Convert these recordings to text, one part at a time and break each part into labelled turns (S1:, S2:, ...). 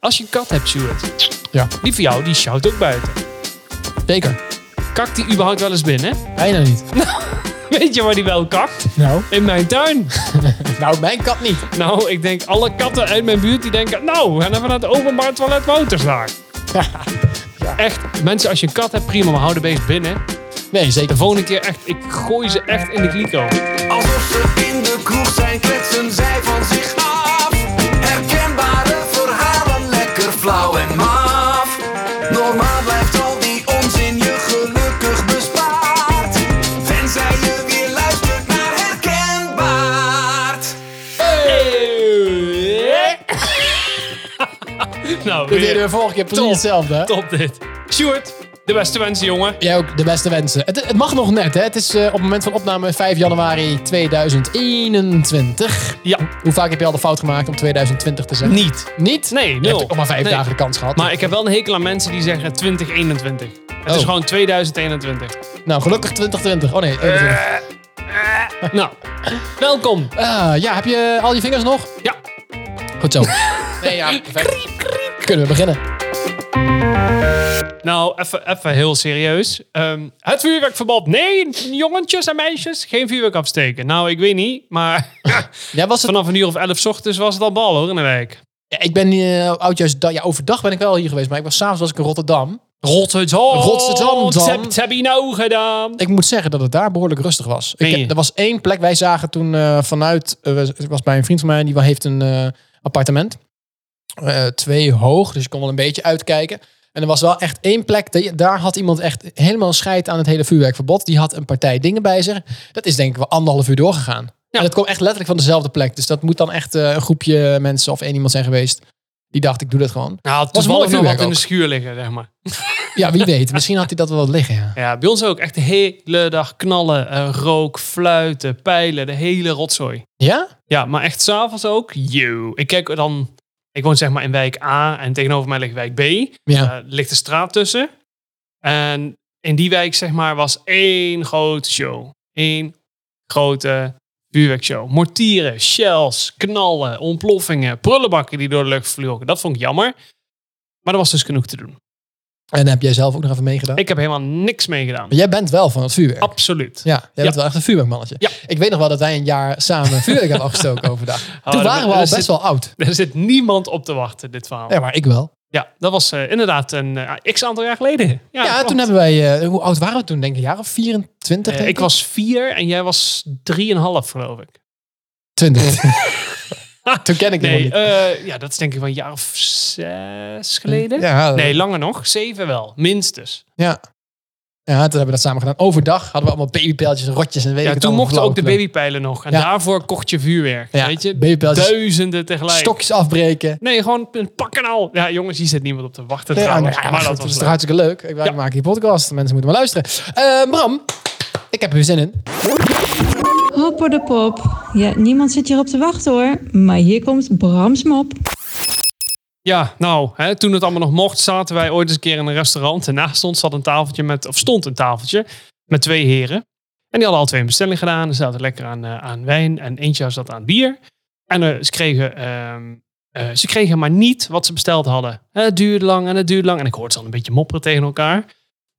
S1: Als je een kat hebt, Stuart,
S2: Ja.
S1: die van jou, die sjouwt ook buiten.
S2: Zeker.
S1: Kakt die überhaupt wel eens binnen?
S2: Bijna niet.
S1: Weet je waar die wel kakt?
S2: Nou?
S1: In mijn tuin.
S2: Nou, mijn kat niet.
S1: Nou, ik denk alle katten uit mijn buurt die denken... Nou, we gaan even naar het openbaar toilet Wouters daar. Echt, mensen, als je een kat hebt, prima, maar hou de beest binnen.
S2: Nee,
S1: De
S2: zeker.
S1: volgende keer echt, ik gooi ze echt in de kliko.
S3: Alsof ze in de kroeg zijn, kletsen zij van zich af. Herkenbare verhalen, lekker flauw en maf. Normaal blijft al die onzin je gelukkig bespaard. Tenzij je weer luistert naar herkenbaard.
S1: nou,
S2: Dit deden we
S1: weer
S2: vorige keer precies
S1: Top.
S2: hetzelfde. hè?
S1: top dit. Stuart, de beste wensen, jongen.
S2: Jij ook de beste wensen. Het, het mag nog net, hè? Het is eh, op het moment van opname 5 januari 2021.
S1: Ja,
S2: Hoe vaak heb je al de fout gemaakt om 2020 te zeggen?
S1: niet.
S2: Niet?
S1: Nee,
S2: Je hebt
S1: nul.
S2: ook maar vijf
S1: Nee.
S2: dagen de kans gehad.
S1: Maar ik heb wel een hekel aan mensen die zeggen 2021. Het is
S2: Oh.
S1: gewoon 2021.
S2: Nou, gelukkig 2020. Oh nee,
S1: Eh.
S2: 21.
S1: Nou, welkom.
S2: Ah, ja, heb je al je vingers nog?
S1: Ja.
S2: Goed zo. nee, ja. perfect. Kunnen we beginnen?
S1: Nou, even even heel serieus. Ehm, het vuurwerkverbod. Nee, jongetjes en meisjes, geen vuurwerk afsteken. Nou, ik weet niet, maar
S2: Ja, was het...
S1: vanaf een uur of elf 's ochtends was het al bal hoor in de wijk.
S2: Ja, ik ben eh oudjaarsdag... Ja, overdag ben ik wel hier geweest, maar ik was s'avonds was ik in Rotterdam.
S1: Rotterdam.
S2: Rotterdam,
S1: Wat
S2: dan.
S1: heb- Wat heb je nou gedaan?
S2: Ik moet zeggen dat het daar behoorlijk rustig was. Ik,
S1: Meen je?
S2: er was één plek, wij zagen toen eh, vanuit... eh, we- ik was bij een vriend van mij, die heeft een eh, appartement. Eh, twee hoog, dus ik kon wel een beetje uitkijken. En er was wel echt één plek, die- daar had iemand echt helemaal scheid aan het hele vuurwerkverbod. Die had een partij dingen bij zich. Dat is denk ik wel anderhalf uur doorgegaan. En dat kwam echt letterlijk van dezelfde plek. Dus dat moet dan echt eh, een groepje mensen of één iemand zijn geweest. Die dacht, ik doe dat gewoon.
S1: Nou, had
S2: Was mooi
S1: toevallig nog wat
S2: vuurwerk
S1: in de
S2: ook.
S1: schuur liggen, zeg maar.
S2: Ja, wie weet. Misschien had hij dat wel wat liggen, ja.
S1: Ja, bij ons ook echt de hele dag knallen, eh, rook, fluiten, pijlen, de hele rotzooi.
S2: Ja?
S1: Ja, maar echt s'avonds ook. Yo. Ik kijk dan. Ik woon zeg maar in wijk A en tegenover mij ligt wijk B.
S2: Ja.
S1: Eh, ligt de straat tussen. En in die wijk zeg maar was één grote show. Eén grote vuurwerkshow. Mortieren, shells, knallen, ontploffingen, prullenbakken die door de lucht vlogen. Dat vond ik jammer. Maar er was dus genoeg te doen.
S2: En heb jij zelf ook nog even meegedaan?
S1: Ik heb helemaal niks meegedaan.
S2: Maar jij bent wel van het vuurwerk.
S1: Absoluut.
S2: Ja, jij bent
S1: Ja.
S2: wel echt een vuurwerkmannetje.
S1: Ja.
S2: Ik weet nog wel dat wij een jaar samen vuurwerk hebben afgestoken overdag.
S1: Oh,
S2: Toen
S1: dat-
S2: waren we
S1: dat
S2: al best
S1: zit-
S2: wel oud.
S1: Er zit niemand op te wachten, dit verhaal.
S2: Ja, maar ik wel.
S1: Ja, dat was eh, inderdaad een eh, x aantal jaar geleden. Ja,
S2: Ja,
S1: klopt.
S2: toen hebben wij... eh, hoe oud waren we toen? Denk ik een jaar of 24?
S1: Eh,
S2: denk
S1: ik was vier en jij was drieënhalf, geloof ik.
S2: 20. toen ken ik
S1: Nee,
S2: hem nog
S1: eh, ja, dat is denk ik wel een jaar of zes geleden.
S2: niet. Ja,
S1: Nee, langer nog. Zeven wel, minstens.
S2: ja. ja, toen hebben we dat samen gedaan. Overdag hadden we allemaal babypijltjes en rotjes en weet ik
S1: Ja,
S2: het
S1: toen
S2: allemaal
S1: mochten ook de
S2: flauwekul.
S1: babypijlen nog. En
S2: Ja.
S1: daarvoor kocht je vuurwerk.
S2: Ja,
S1: Weet je?
S2: babypijltjes.
S1: Duizenden tegelijk.
S2: Stokjes afbreken.
S1: Nee, gewoon een pak en al. Ja, jongens, hier zit niemand op te wachten
S2: Nee,
S1: trouwens.
S2: ah, nou ja,
S1: maar
S2: goed,
S1: dat
S2: dat is
S1: was
S2: toch
S1: leuk.
S2: hartstikke leuk. Ik, wij
S1: Ja.
S2: maken die podcast. Mensen moeten maar luisteren. Eh, Bram, ik heb er weer zin in.
S4: Hopper de pop. Ja, niemand zit hierop te wachten hoor. Maar hier komt Brams mop.
S1: Ja, nou, hè, toen het allemaal nog mocht, zaten wij ooit eens een keer in een restaurant. En naast ons zat een tafeltje met, of stond een tafeltje met twee heren. En die hadden al twee bestellingen gedaan. Ze zaten lekker aan, eh, aan wijn en eentje zat aan bier. En eh, ze, kregen, ehm, eh, ze kregen maar niet wat ze besteld hadden. Eh, Het duurde lang en het duurde lang. En ik hoorde ze al een beetje mopperen tegen elkaar.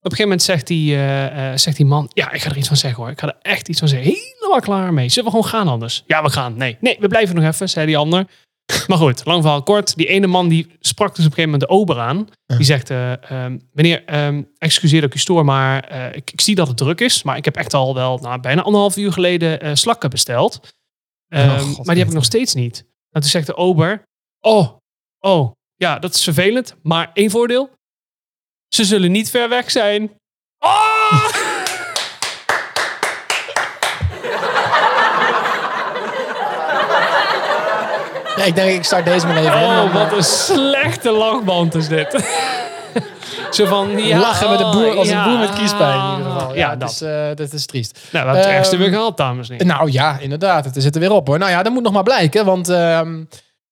S1: Op een gegeven moment zegt die, eh, eh, zegt die man... Ja, ik ga er iets van zeggen hoor. Ik ga er echt iets van zeggen. Helemaal klaar mee. Zullen we gewoon gaan anders? Ja, we gaan. Nee, nee we blijven nog even, zei die ander. Maar goed, lang verhaal kort. Die ene man die sprak dus op een gegeven moment de ober aan. Die zegt, eh, ehm, meneer, ehm, excuseer dat ik u stoor, maar eh, ik, ik zie dat het druk is. Maar ik heb echt al wel nou, bijna anderhalf uur geleden eh, slakken besteld. Ehm,
S2: God,
S1: maar die heb ik nog steeds niet. En toen zegt de ober, oh, oh, ja, dat is vervelend. Maar één voordeel, ze zullen niet ver weg zijn. Oh!
S2: Ja, ik denk, ik start deze maar even in.
S1: Oh,
S2: Dan, eh,
S1: wat een slechte lachband is dit. Zo van, ja,
S2: eh,
S1: oh,
S2: Lachen met een boer als
S1: ja,
S2: een boer met kiespijn in ieder geval. Ja,
S1: Ja,
S2: dat.
S1: dat.
S2: is, eh, dat is triest.
S1: nou, we hebben het
S2: Ehm,
S1: ergste weer gehad, dames en heren.
S2: Nou ja, inderdaad. Het zit er weer op hoor. Nou ja, dat moet nog maar blijken. Want ehm,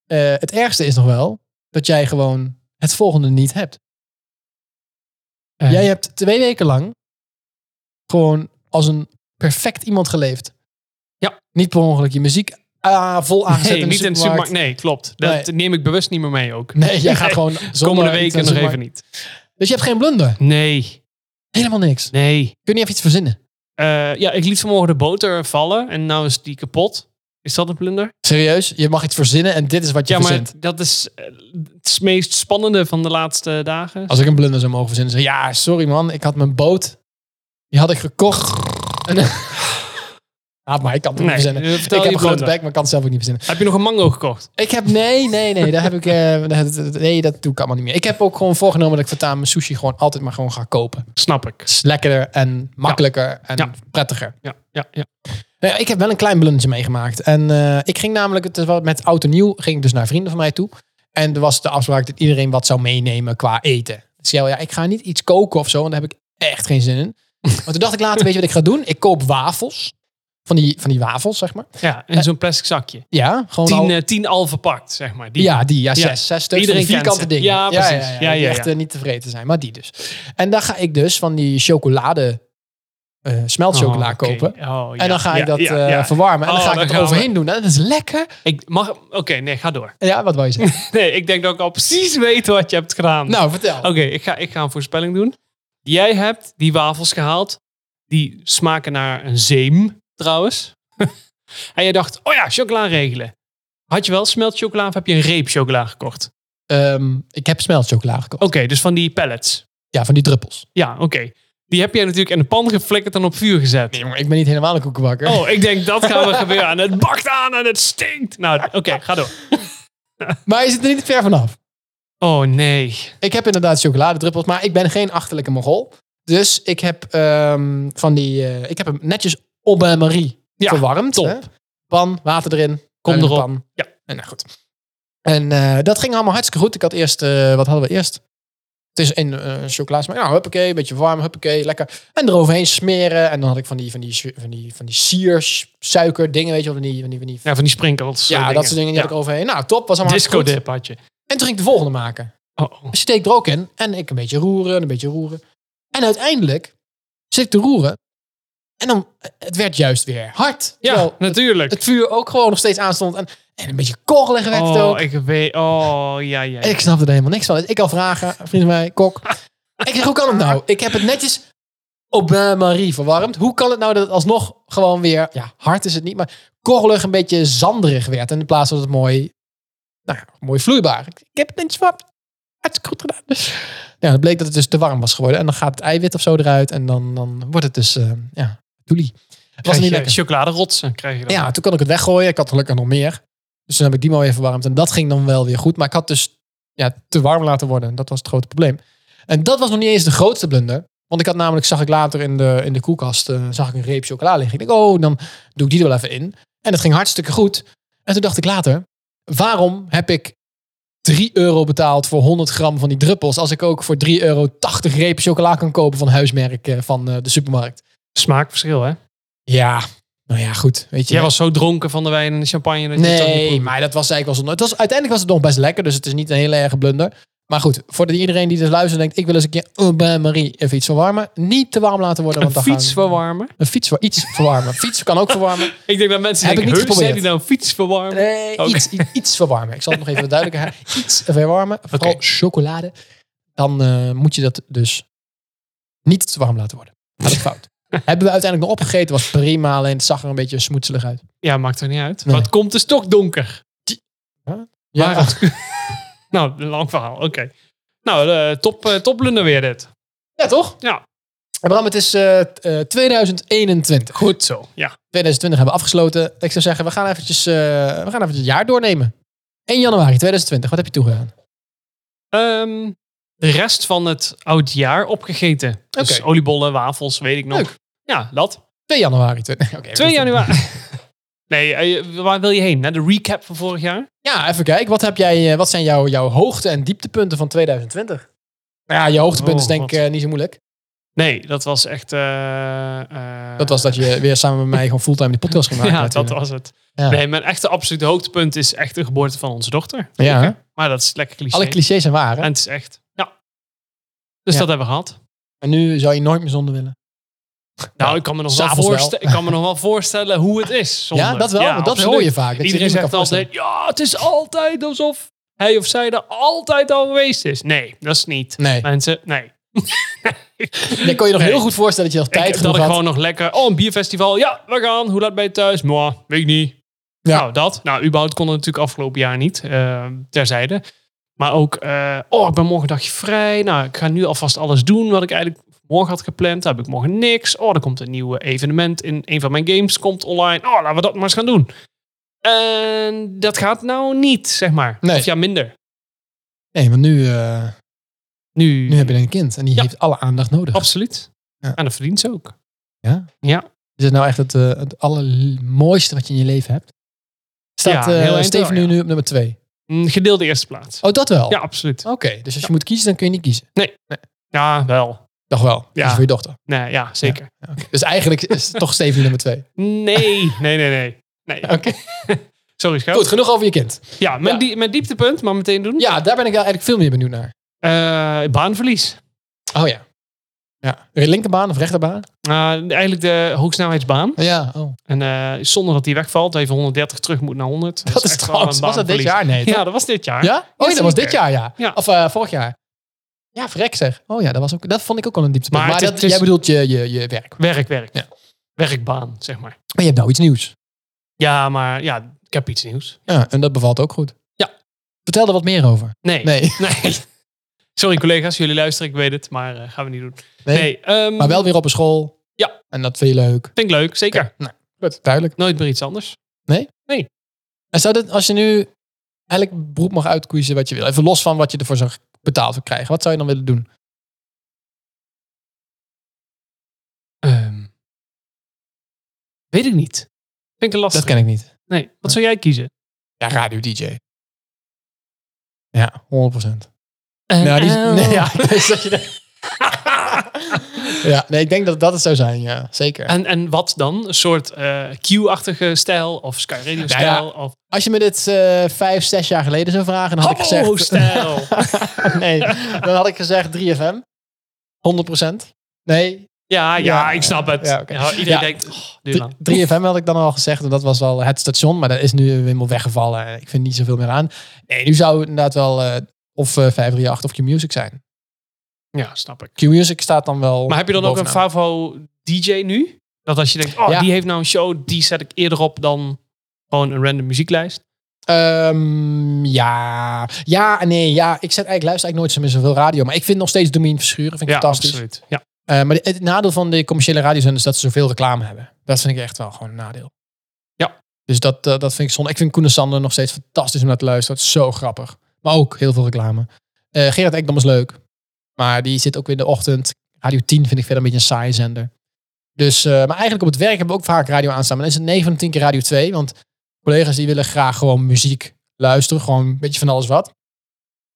S2: eh, het ergste is nog wel dat jij gewoon het volgende niet hebt.
S1: Eh,
S2: Jij hebt twee weken lang gewoon als een perfect iemand geleefd.
S1: Ja.
S2: Niet per ongeluk je muziek ah, vol aangezet
S1: Nee,
S2: in de
S1: niet in de supermarkt. Nee, klopt. Dat
S2: Nee.
S1: neem ik bewust niet meer mee ook.
S2: Nee, jij gaat gewoon zonder
S1: Komende weken nog even niet.
S2: Dus je hebt geen blunder?
S1: Nee,
S2: Helemaal niks.
S1: nee.
S2: Kun je niet even iets verzinnen?
S1: Eh, ja, ik liet vanmorgen de boter vallen en nou is die kapot. Is dat een blunder?
S2: Serieus? Je mag iets verzinnen en dit is wat je
S1: Ja, maar
S2: verzint.
S1: dat is eh, het meest spannende van de laatste dagen.
S2: Als ik een blunder zou mogen verzinnen, zeg ik, ja, sorry man, ik had mijn boot, die had ik gekocht. En, ja, maar ik kan het
S1: Nee,
S2: niet verzinnen.
S1: eh,
S2: Ik
S1: vertel
S2: heb
S1: je
S2: een grote
S1: blunder.
S2: bek, maar ik kan het zelf ook niet verzinnen.
S1: Heb je nog een mango gekocht?
S2: Ik heb, nee, nee, nee, daar heb ik, eh, dat- dat- nee, dat doe ik allemaal niet meer. Ik heb ook gewoon voorgenomen dat ik voortaan mijn sushi gewoon altijd maar gewoon ga kopen.
S1: Snap ik.
S2: is lekkerder en makkelijker en
S1: Ja.
S2: prettiger.
S1: Ja, ja, ja.
S2: Nou ja, ik heb wel een klein blundertje meegemaakt. En eh, ik ging namelijk, het was met oud en nieuw, ging ik dus naar vrienden van mij toe. En er was de afspraak dat iedereen wat zou meenemen qua eten. Dus ik zei, ja, ik ga niet iets koken of zo, want daar heb ik echt geen zin in. Maar toen dacht ik later, weet je wat ik ga doen? Ik koop wafels. Van die, van die wafels, zeg maar.
S1: Ja, in zo'n plastic zakje.
S2: Ja, Eh, gewoon
S1: Tien,
S2: al-
S1: eh, tien al verpakt, zeg maar. Die.
S2: ja, die. Ja,
S1: Ja.
S2: zes. Zes stuks
S1: Iedereen
S2: van die vierkante
S1: kent ze.
S2: dingen.
S1: Ja, precies.
S2: Ja, ja,
S1: Ja,
S2: die
S1: ja,
S2: echt
S1: ja.
S2: eh, niet tevreden zijn, maar die dus. En daar ga ik dus van die chocolade, eh smeltchocola
S1: Oh, oké.
S2: kopen.
S1: Oh, ja,
S2: En dan ga
S1: ja,
S2: ik dat
S1: ja,
S2: eh,
S1: ja.
S2: verwarmen. En dan
S1: Oh,
S2: ga ik
S1: dan
S2: dat
S1: gaan we-
S2: overheen doen. En dat is lekker.
S1: Ik mag... Oké, nee, ga door.
S2: Ja, wat wil je zeggen?
S1: Nee, ik denk dat ik al precies weet wat je hebt gedaan.
S2: nou, vertel.
S1: Oké, ik, ga, ik ga een voorspelling doen. Jij hebt die wafels gehaald. Die smaken naar een zeem, trouwens. en jij dacht, oh ja, chocola regelen. Had je wel smeltchocola of heb je een reep chocola gekocht? Oké,
S2: Ehm, ik heb smeltchocola gekocht.
S1: dus van die pellets.
S2: Ja, van die druppels.
S1: Ja, oké. Die heb jij natuurlijk in de pan geflikkerd en op vuur gezet.
S2: Jongen, ik ben niet helemaal een koekenbakker.
S1: Oh, ik denk, dat gaan we gebeuren. En het bakt aan en het stinkt. Nou, oké, ga door.
S2: Maar je zit er niet ver vanaf.
S1: Oh, nee.
S2: Ik heb inderdaad chocoladedruppels, maar ik ben geen achterlijke mogol. Dus ik heb ehm, van die... eh, ik heb hem netjes op bain marie
S1: Ja,
S2: verwarmd.
S1: top.
S2: hè. Pan, water erin.
S1: Kom
S2: uit de
S1: erop.
S2: pan.
S1: Ja.
S2: En nou goed. En eh, dat ging allemaal hartstikke goed. Ik had eerst... eh, wat hadden we eerst? Het is een eh chocola smaak. Nou, huppakee. Een beetje warm. Huppakee. Lekker. En eroverheen smeren. En dan had ik van die, van die, su- van die, van die siers, suiker dingen. Weet je wel, van die... Van die, van die
S1: Ja, van die sprinkels.
S2: ja,
S1: eh,
S2: dat soort dingen. Die had ik overheen. Nou, top. Was allemaal
S1: Disco
S2: hartstikke goed.
S1: dip had je.
S2: En toen ging ik de volgende maken
S1: Oh, oh.
S2: steek er ook in. En ik een beetje roeren, een beetje roeren. En uiteindelijk zit ik te roeren. En dan, het werd juist weer hard.
S1: Ja,
S2: Terwijl
S1: natuurlijk.
S2: het vuur ook gewoon nog steeds aanstond. En, en een beetje korrelig werd het ook.
S1: Oh, ik weet. Oh, ja, ja.
S2: En
S1: ja.
S2: ik snapte er helemaal niks van. Dus ik al vragen, een vriend van mij, kok. ik zeg, hoe kan het nou? Ik heb het netjes op bain Marie verwarmd. Hoe kan het nou dat het alsnog gewoon weer, ja, hard is het niet, maar korrelig een beetje zanderig werd. En in plaats van dat het mooi, nou ja, mooi vloeibaar. Ik ik heb het netjes verwarmd. Hartstikke goed gedaan. Dus, nou Ja, het bleek dat het dus te warm was geworden. En dan gaat het eiwit of zo eruit. En dan, dan wordt het dus, eh, ja, doelie. Het was
S1: Krijg
S2: niet
S1: je
S2: lekker.
S1: Chocoladerotsen krijg je dan.
S2: Ja, toen kon ik het weggooien. Ik had gelukkig nog meer. Dus toen heb ik die maar weer verwarmd. En dat ging dan wel weer goed. Maar ik had dus ja, te warm laten worden. En dat was het grote probleem. En dat was nog niet eens de grootste blunder. Want ik had namelijk, zag ik later in de, in de koelkast, eh, zag ik een reep chocola liggen. Ik dacht, oh, dan doe ik die er wel even in. En dat ging hartstikke goed. En toen dacht ik later, waarom heb ik 3 euro betaald voor 100 gram van die druppels... als ik ook voor 3 euro 80 reep chocola kan kopen van huismerk eh, van eh, de supermarkt?
S1: Smaakverschil, hè?
S2: Ja, nou ja, goed. Weet je,
S1: Jij was zo dronken van de wijn en de champagne. Dat je het ook niet
S2: Nee,
S1: proefde.
S2: maar dat was eigenlijk wel zonde. Het was, uiteindelijk was het nog best lekker, dus het is niet een hele erge blunder. Maar goed, voor de- iedereen die dus luistert en denkt... ik wil eens een keer een bain-marie even iets verwarmen. Niet te warm laten worden.
S1: Een
S2: Want dan
S1: fiets
S2: gaan-
S1: verwarmen.
S2: Een fiets voor iets verwarmen. fiets kan ook verwarmen.
S1: Ik denk dat mensen
S2: Heb
S1: denken,
S2: ik niet
S1: heus, zei die
S2: geprobeerd.
S1: nou een fiets verwarmen?
S2: Nee,
S1: Oké.
S2: iets, i- iets verwarmen. Ik zal het nog even duidelijker maken. Iets verwarmen, vooral
S1: Oké.
S2: chocolade. Dan eh, moet je dat dus niet te warm laten worden. Had ik fout. Hebben we uiteindelijk nog opgegeten. Was prima, alleen het zag er een beetje smoetselig uit.
S1: Ja, maakt er niet uit.
S2: Nee.
S1: Maar het komt dus toch donker.
S2: Ja,
S1: Maar het- nou, een lang verhaal. Oké. Nou, eh, top, eh, top blunder weer dit.
S2: ja toch?
S1: Ja.
S2: Bram, het is eh, t- eh, 2021.
S1: Goed zo. Ja.
S2: 2020 hebben we afgesloten. Ik zou zeggen, we gaan eventjes, eh, we gaan even het jaar doornemen. 1 januari 2020, wat heb je toegedaan?
S1: Ehm, de rest van het oud jaar opgegeten. Dus
S2: Oké.
S1: oliebollen, wafels, weet ik nog.
S2: Leuk.
S1: Ja, dat.
S2: 2 januari. twe- Oké, we
S1: 2
S2: doen-
S1: januari. Nee, eh, waar wil je heen? Naar de recap van vorig jaar?
S2: Ja, even kijken. Wat, heb jij, eh, wat zijn jouw, jouw hoogte- en dieptepunten van 2020? Nou Ja, je hoogtepunt
S1: Oh,
S2: is denk ik
S1: God.
S2: eh, niet zo moeilijk.
S1: Nee, dat was echt. eh, eh,
S2: Dat was dat je weer samen met mij gewoon fulltime die podcast ging maken.
S1: Ja, dat
S2: natuurlijk.
S1: was het.
S2: Ja.
S1: Nee, mijn echte absolute hoogtepunt is echt de geboorte van onze dochter.
S2: Ja, hè?
S1: Maar dat is lekker cliché.
S2: alle clichés zijn waar. hè?
S1: En het is echt. Ja. Dus
S2: Ja.
S1: dat hebben we gehad.
S2: En nu zou je nooit meer zonder willen.
S1: Nou, ik kan me nog, wel,
S2: s'avonds wel.
S1: voorste- ik kan me nog wel voorstellen hoe het is. zonder.
S2: Ja, dat wel, want dat
S1: absoluut.
S2: hoor je vaak, dat je
S1: Iedereen
S2: het niet
S1: zegt
S2: kan
S1: altijd, ja, het is altijd alsof hij of zij er altijd al geweest is. Nee, dat is niet.
S2: Nee.
S1: Mensen, nee.
S2: Dan kon je nog
S1: Nee.
S2: heel goed voorstellen dat je nog
S1: Ik,
S2: tijd
S1: dat
S2: genoeg
S1: ik
S2: had.
S1: gewoon nog lekker, oh, een bierfestival. Ja, we gaan. Hoe laat ben je thuis? Moi, weet ik niet.
S2: Ja.
S1: Nou, dat. Nou, überhaupt kon het natuurlijk afgelopen jaar niet. eh, terzijde. Maar ook, eh, oh, ik ben morgen een dagje vrij. Nou, ik ga nu alvast alles doen wat ik eigenlijk morgen had gepland. Daar heb ik morgen niks. Oh, er komt een nieuw eh, evenement in een van mijn games. Komt online. Oh, laten we dat maar eens gaan doen. En dat gaat nou niet, zeg maar.
S2: Nee.
S1: Of ja, minder.
S2: Nee, want nu, eh,
S1: Nu,
S2: nu heb je een kind en die
S1: Ja.
S2: heeft alle aandacht nodig.
S1: Absoluut.
S2: Ja.
S1: En dat verdient ze ook.
S2: Ja?
S1: Ja.
S2: Is het nou echt het, eh, het allermooiste wat je in je leven hebt? Staat
S1: Ja, heel
S2: eh
S1: eind
S2: Steven
S1: wel,
S2: nu,
S1: ja.
S2: nu op nummer twee?
S1: Mm, Gedeelde eerste plaats.
S2: Oh, dat wel?
S1: Ja, absoluut.
S2: Oké, dus als je moet kiezen, dan kun je niet kiezen.
S1: Ja, wel.
S2: Toch wel?
S1: Ja.
S2: Ja. Voor je dochter.
S1: Nee, ja, zeker.
S2: Dus eigenlijk is toch Steven nu nummer twee.
S1: Nee, nee, nee, nee. nee.
S2: Oké.
S1: Sorry, schat.
S2: Goed, genoeg over je kind.
S1: Ja, mijn,
S2: Ja.
S1: die- mijn dieptepunt, maar meteen doen.
S2: Ja, daar ben ik wel eigenlijk veel meer benieuwd naar.
S1: Eh, baanverlies.
S2: Oh ja. Ja. Linkerbaan of rechterbaan?
S1: Eh, eigenlijk de hoogsnelheidsbaan.
S2: Ja, oh.
S1: En eh, zonder dat die wegvalt, even 130 terug moet naar 100.
S2: Dat is
S1: echt
S2: trouwens,
S1: wel een
S2: was dat dit
S1: baanverlies.
S2: jaar? Nee. toch?
S1: Ja, dat was dit jaar.
S2: Ja? Oh, ja, dat was
S1: Jazeker.
S2: dit jaar, ja.
S1: Ja.
S2: Of eh, vorig jaar. Ja, verrek zeg. Oh ja, dat, was ook, dat vond ik ook al een dieptepunt.
S1: Maar
S2: Maar,
S1: het is-
S2: dat,
S1: het is-
S2: jij bedoelt je, je, je werk. Maar
S1: Werk, werk.
S2: Ja.
S1: Werkbaan, zeg maar.
S2: je hebt nou iets nieuws.
S1: Ja, maar ja, ik heb iets nieuws.
S2: Ja, en dat bevalt ook goed.
S1: Ja.
S2: Vertel er wat meer over.
S1: Nee.
S2: Nee.
S1: Nee. Sorry collega's, jullie luisteren, ik weet het, maar eh, gaan we niet doen.
S2: Nee.
S1: ehm,
S2: Maar wel weer op een school.
S1: Ja.
S2: En dat vind je leuk.
S1: Vind ik leuk, zeker.
S2: Nou, goed. Duidelijk.
S1: Nooit meer iets anders.
S2: En zou dit, als je nu elk beroep mag uitkiezen wat je wil, even los van wat je ervoor zou betaald voor krijgen, wat zou je dan willen doen?
S1: Ehm, weet ik niet. Vind ik een lastig.
S2: Dat ken ik niet.
S1: Nee, wat zou jij kiezen?
S2: Ja, radio DJ. Ja, 100%.
S1: En
S2: Nou, die, nee,
S1: ja.
S2: ja, dus dat je denkt- ja, nee, ik denk dat dat het zou zijn, ja, zeker.
S1: en, en wat dan? Een soort eh Q-achtige stijl of Sky Radio-stijl?
S2: Ja, ja.
S1: Of
S2: Als je me dit eh, vijf, zes jaar geleden zou vragen, dan had ik
S1: Oh,
S2: gezegd...
S1: Habbo-stijl?
S2: nee, dan had ik gezegd 3FM. 100%. Nee,
S1: ja, ja,
S2: Ja,
S1: ik snap het.
S2: ja, oké.
S1: Ja, iedereen
S2: Ja.
S1: denkt, oh, duur
S2: Drie-
S1: lang.
S2: 3FM had ik dan al gezegd. En dat was wel het station. Maar dat is nu helemaal weggevallen. Ik vind niet zoveel meer aan. Nee, nu zou het inderdaad wel eh, of eh 538 of Q-Music zijn.
S1: Ja, snap ik.
S2: Q-Music staat dan wel
S1: Maar heb je dan ook een
S2: bovenaan.
S1: Favo-DJ nu? Dat als je denkt, oh,
S2: Ja.
S1: die heeft nou een show, die zet ik eerder op dan gewoon een random muzieklijst.
S2: Ehm, ja. Ja, nee. Ja, ik zet eigenlijk, luister eigenlijk nooit zo meer zoveel radio. Maar ik vind nog steeds Domien Verschuren. Vind ik
S1: Ja,
S2: fantastisch.
S1: absoluut. Ja.
S2: Eh, maar het nadeel van de commerciële radiozenders is dat ze zoveel reclame hebben. Dat vind ik echt wel gewoon een nadeel.
S1: Ja.
S2: Dus dat, eh, dat vind ik zonde. Ik vind Koen en Sander nog steeds fantastisch om naar te luisteren. Het is zo grappig. Maar ook heel veel reclame. Eh Gerard Ekdom is leuk. Maar die zit ook weer in de ochtend. Radio 10 vind ik verder een beetje een saaie zender. Dus, eh, maar eigenlijk op het werk hebben we ook vaak radio aanstaan. Maar dan is het 9 van de 10 keer Radio 2. Want collega's die willen graag gewoon muziek luisteren. Gewoon een beetje van alles wat.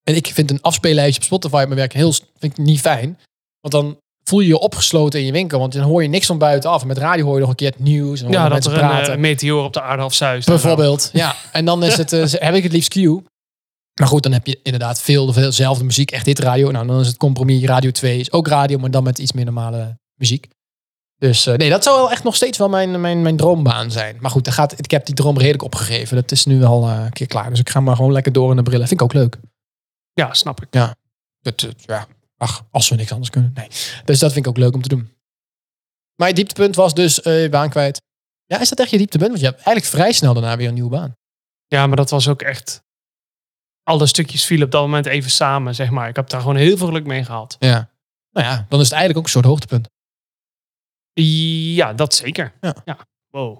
S2: En ik vind een afspeellijstje op Spotify op mijn werk heel, vind ik niet fijn. Want dan voel je je opgesloten in je winkel. Want dan hoor je niks van buitenaf. En met radio hoor je nog een keer het nieuws. En dan
S1: Ja,
S2: hoor je
S1: dat
S2: mensen
S1: er een
S2: praten.
S1: eh, meteor op de aarde of zuist.
S2: Bijvoorbeeld, ja. En dan is het, eh, heb ik het liefst Q. Maar goed, dan heb je inderdaad veel, veel zelfde muziek. Echt dit radio. Nou, dan is het compromis. Radio 2 is ook radio, maar dan met iets meer normale muziek. Dus eh, nee, dat zou wel echt nog steeds wel mijn, mijn, mijn droombaan zijn. Maar goed, dan gaat, ik heb die droom redelijk opgegeven. Dat is nu wel eh, een keer klaar. Dus ik ga maar gewoon lekker door in de brillen. Vind ik ook leuk.
S1: Ja, snap ik.
S2: Dat, eh, ja, ach, als we niks anders kunnen. Nee. Dus dat vind ik ook leuk om te doen. Mijn dieptepunt was dus eh, baan kwijt. Ja, is dat echt je dieptepunt? Want je hebt eigenlijk vrij snel daarna weer een nieuwe baan.
S1: Ja, maar dat was ook echt. Alle stukjes vielen op dat moment even samen, zeg maar. Ik heb daar gewoon heel veel geluk mee gehad.
S2: Ja. Nou ja, dan is het eigenlijk ook een soort hoogtepunt.
S1: Ja, dat zeker.
S2: Ja.
S1: Wow.
S2: Oh.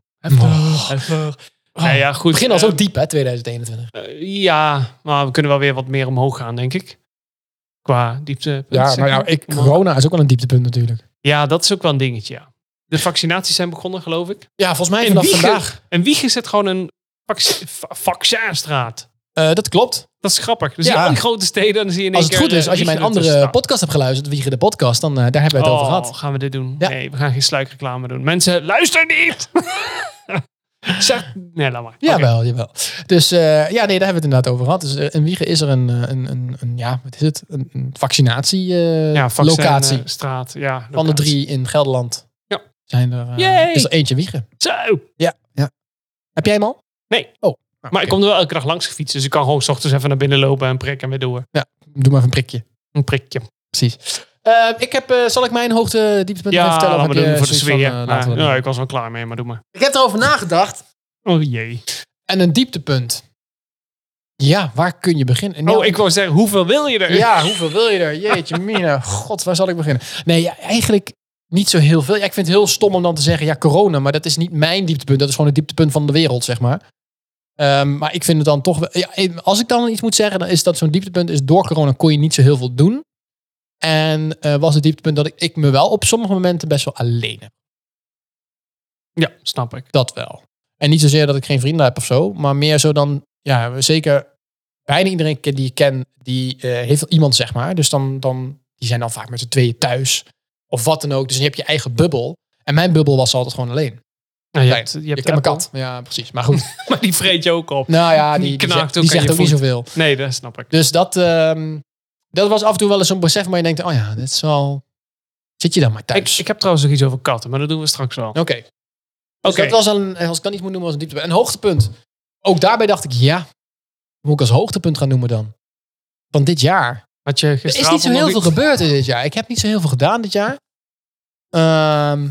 S1: Heftig. Nou ja, goed.
S2: het begin al
S1: eh,
S2: zo diep, hè, 2021.
S1: eh, ja, maar we kunnen wel weer wat meer omhoog gaan, denk ik. Qua diepte.
S2: ik, corona is ook wel een dieptepunt natuurlijk.
S1: ja, dat is ook wel een dingetje, ja. De vaccinaties zijn begonnen, geloof ik.
S2: Ja, volgens mij
S1: En
S2: vanaf
S1: Wiegen.
S2: vandaag.
S1: En Wiegen zit gewoon een vac- va- vaccinstraat.
S2: Eh, dat klopt.
S1: Dat is grappig. Dus
S2: Ja.
S1: al die grote steden, en dan zie je in
S2: Als
S1: één
S2: het
S1: keer,
S2: goed is,
S1: eh,
S2: als je mijn
S1: Wiegen ertussen
S2: andere
S1: staan.
S2: podcast hebt geluisterd, Wiegen de podcast, dan eh, daar hebben we het over
S1: Oh,
S2: gehad.
S1: gaan we dit doen?
S2: Ja.
S1: Nee, we gaan geen sluikreclame doen. Mensen, luister niet! zeg, nee, laat maar. Oké.
S2: Jawel, jawel. Dus eh, ja, nee, daar hebben we het inderdaad over gehad. Dus eh, in Wiegen is er een, eh, een, een, een ja, wat is het? Een, een vaccinatie eh,
S1: Ja, vaccin,
S2: locatie
S1: eh, straat, ja.
S2: van de
S1: locatie.
S2: drie in Gelderland.
S1: Ja.
S2: zijn er, eh,
S1: Yay!
S2: is er eentje wiegen.
S1: Zo!
S2: Heb jij hem al?
S1: Nee.
S2: Oh. Nou,
S1: Maar
S2: oké.
S1: ik kom er wel elke dag langs gefietst. Dus ik kan gewoon 's ochtends even naar binnen lopen en prikken en weer door.
S2: Doe maar even een prikje.
S1: Een prikje.
S2: Precies. Eh, ik heb, eh, zal ik mijn hoogte dieptepunt even
S1: Ja,
S2: vertellen?
S1: laat
S2: Of
S1: maar
S2: heb
S1: doen
S2: je
S1: voor de
S2: zoiets van,
S1: sfeer.
S2: eh,
S1: Maar,
S2: laten we dat
S1: nou,
S2: doen?
S1: ik was wel klaar mee, maar doe maar.
S2: Ik heb erover nagedacht.
S1: Oh jee.
S2: En een dieptepunt. Ja, waar kun je beginnen? En
S1: Oh,
S2: ja,
S1: ik wou zeggen, hoeveel wil je er?
S2: Ja, hoeveel wil je er? Jeetje, mina. God, waar zal ik beginnen? Nee, ja, eigenlijk niet zo heel veel. Ja, ik vind het heel stom om dan te zeggen, ja, corona. Maar dat is niet mijn dieptepunt. Dat is gewoon het dieptepunt van de wereld, zeg maar. Ehm, maar ik vind het dan toch... wel- Ja, als ik dan iets moet zeggen, dan is dat zo'n dieptepunt. Is door corona kon je niet zo heel veel doen. En eh, was het dieptepunt dat ik, ik me wel op sommige momenten best wel alleen heb.
S1: Ja, snap ik.
S2: Dat wel. En niet zozeer dat ik geen vrienden heb of zo. Maar meer zo dan... Ja, zeker bijna iedereen ke- die ik ken, die eh, heeft wel iemand, zeg maar. Dus dan, dan, die zijn dan vaak met z'n tweeën thuis. Of wat dan ook. Dus je hebt je eigen bubbel. En mijn bubbel was altijd gewoon alleen.
S1: Nou, je
S2: Nee,
S1: hebt, je
S2: Je
S1: hebt
S2: ik heb een
S1: Apple,
S2: kat. Ja, precies. Maar goed.
S1: Maar die vreet je ook op.
S2: nou ja,
S1: Die
S2: die, die,
S1: knaakt
S2: zegt,
S1: ook
S2: die
S1: aan
S2: zegt
S1: je
S2: ook niet
S1: voet.
S2: zoveel.
S1: Nee, dat snap ik.
S2: Dus dat, ehm, dat was af en toe wel eens zo'n besef. Maar je denkt, oh ja, dit is wel... Zit je dan maar
S1: Ik,
S2: thuis?
S1: ik heb trouwens nog iets over katten, maar dat doen we straks wel.
S2: Oké. Dus
S1: Oké.
S2: dat was een, eh, als ik dan iets moet noemen als een dieptepunt. Een hoogtepunt. Ook daarbij dacht ik, ja, wat moet ik als hoogtepunt gaan noemen dan? Van dit jaar.
S1: Had je
S2: Er is niet
S1: gisteravond
S2: zo heel
S1: nog
S2: veel
S1: iets-
S2: gebeurd in dit jaar. Ik heb niet zo heel veel gedaan dit jaar. Ehm,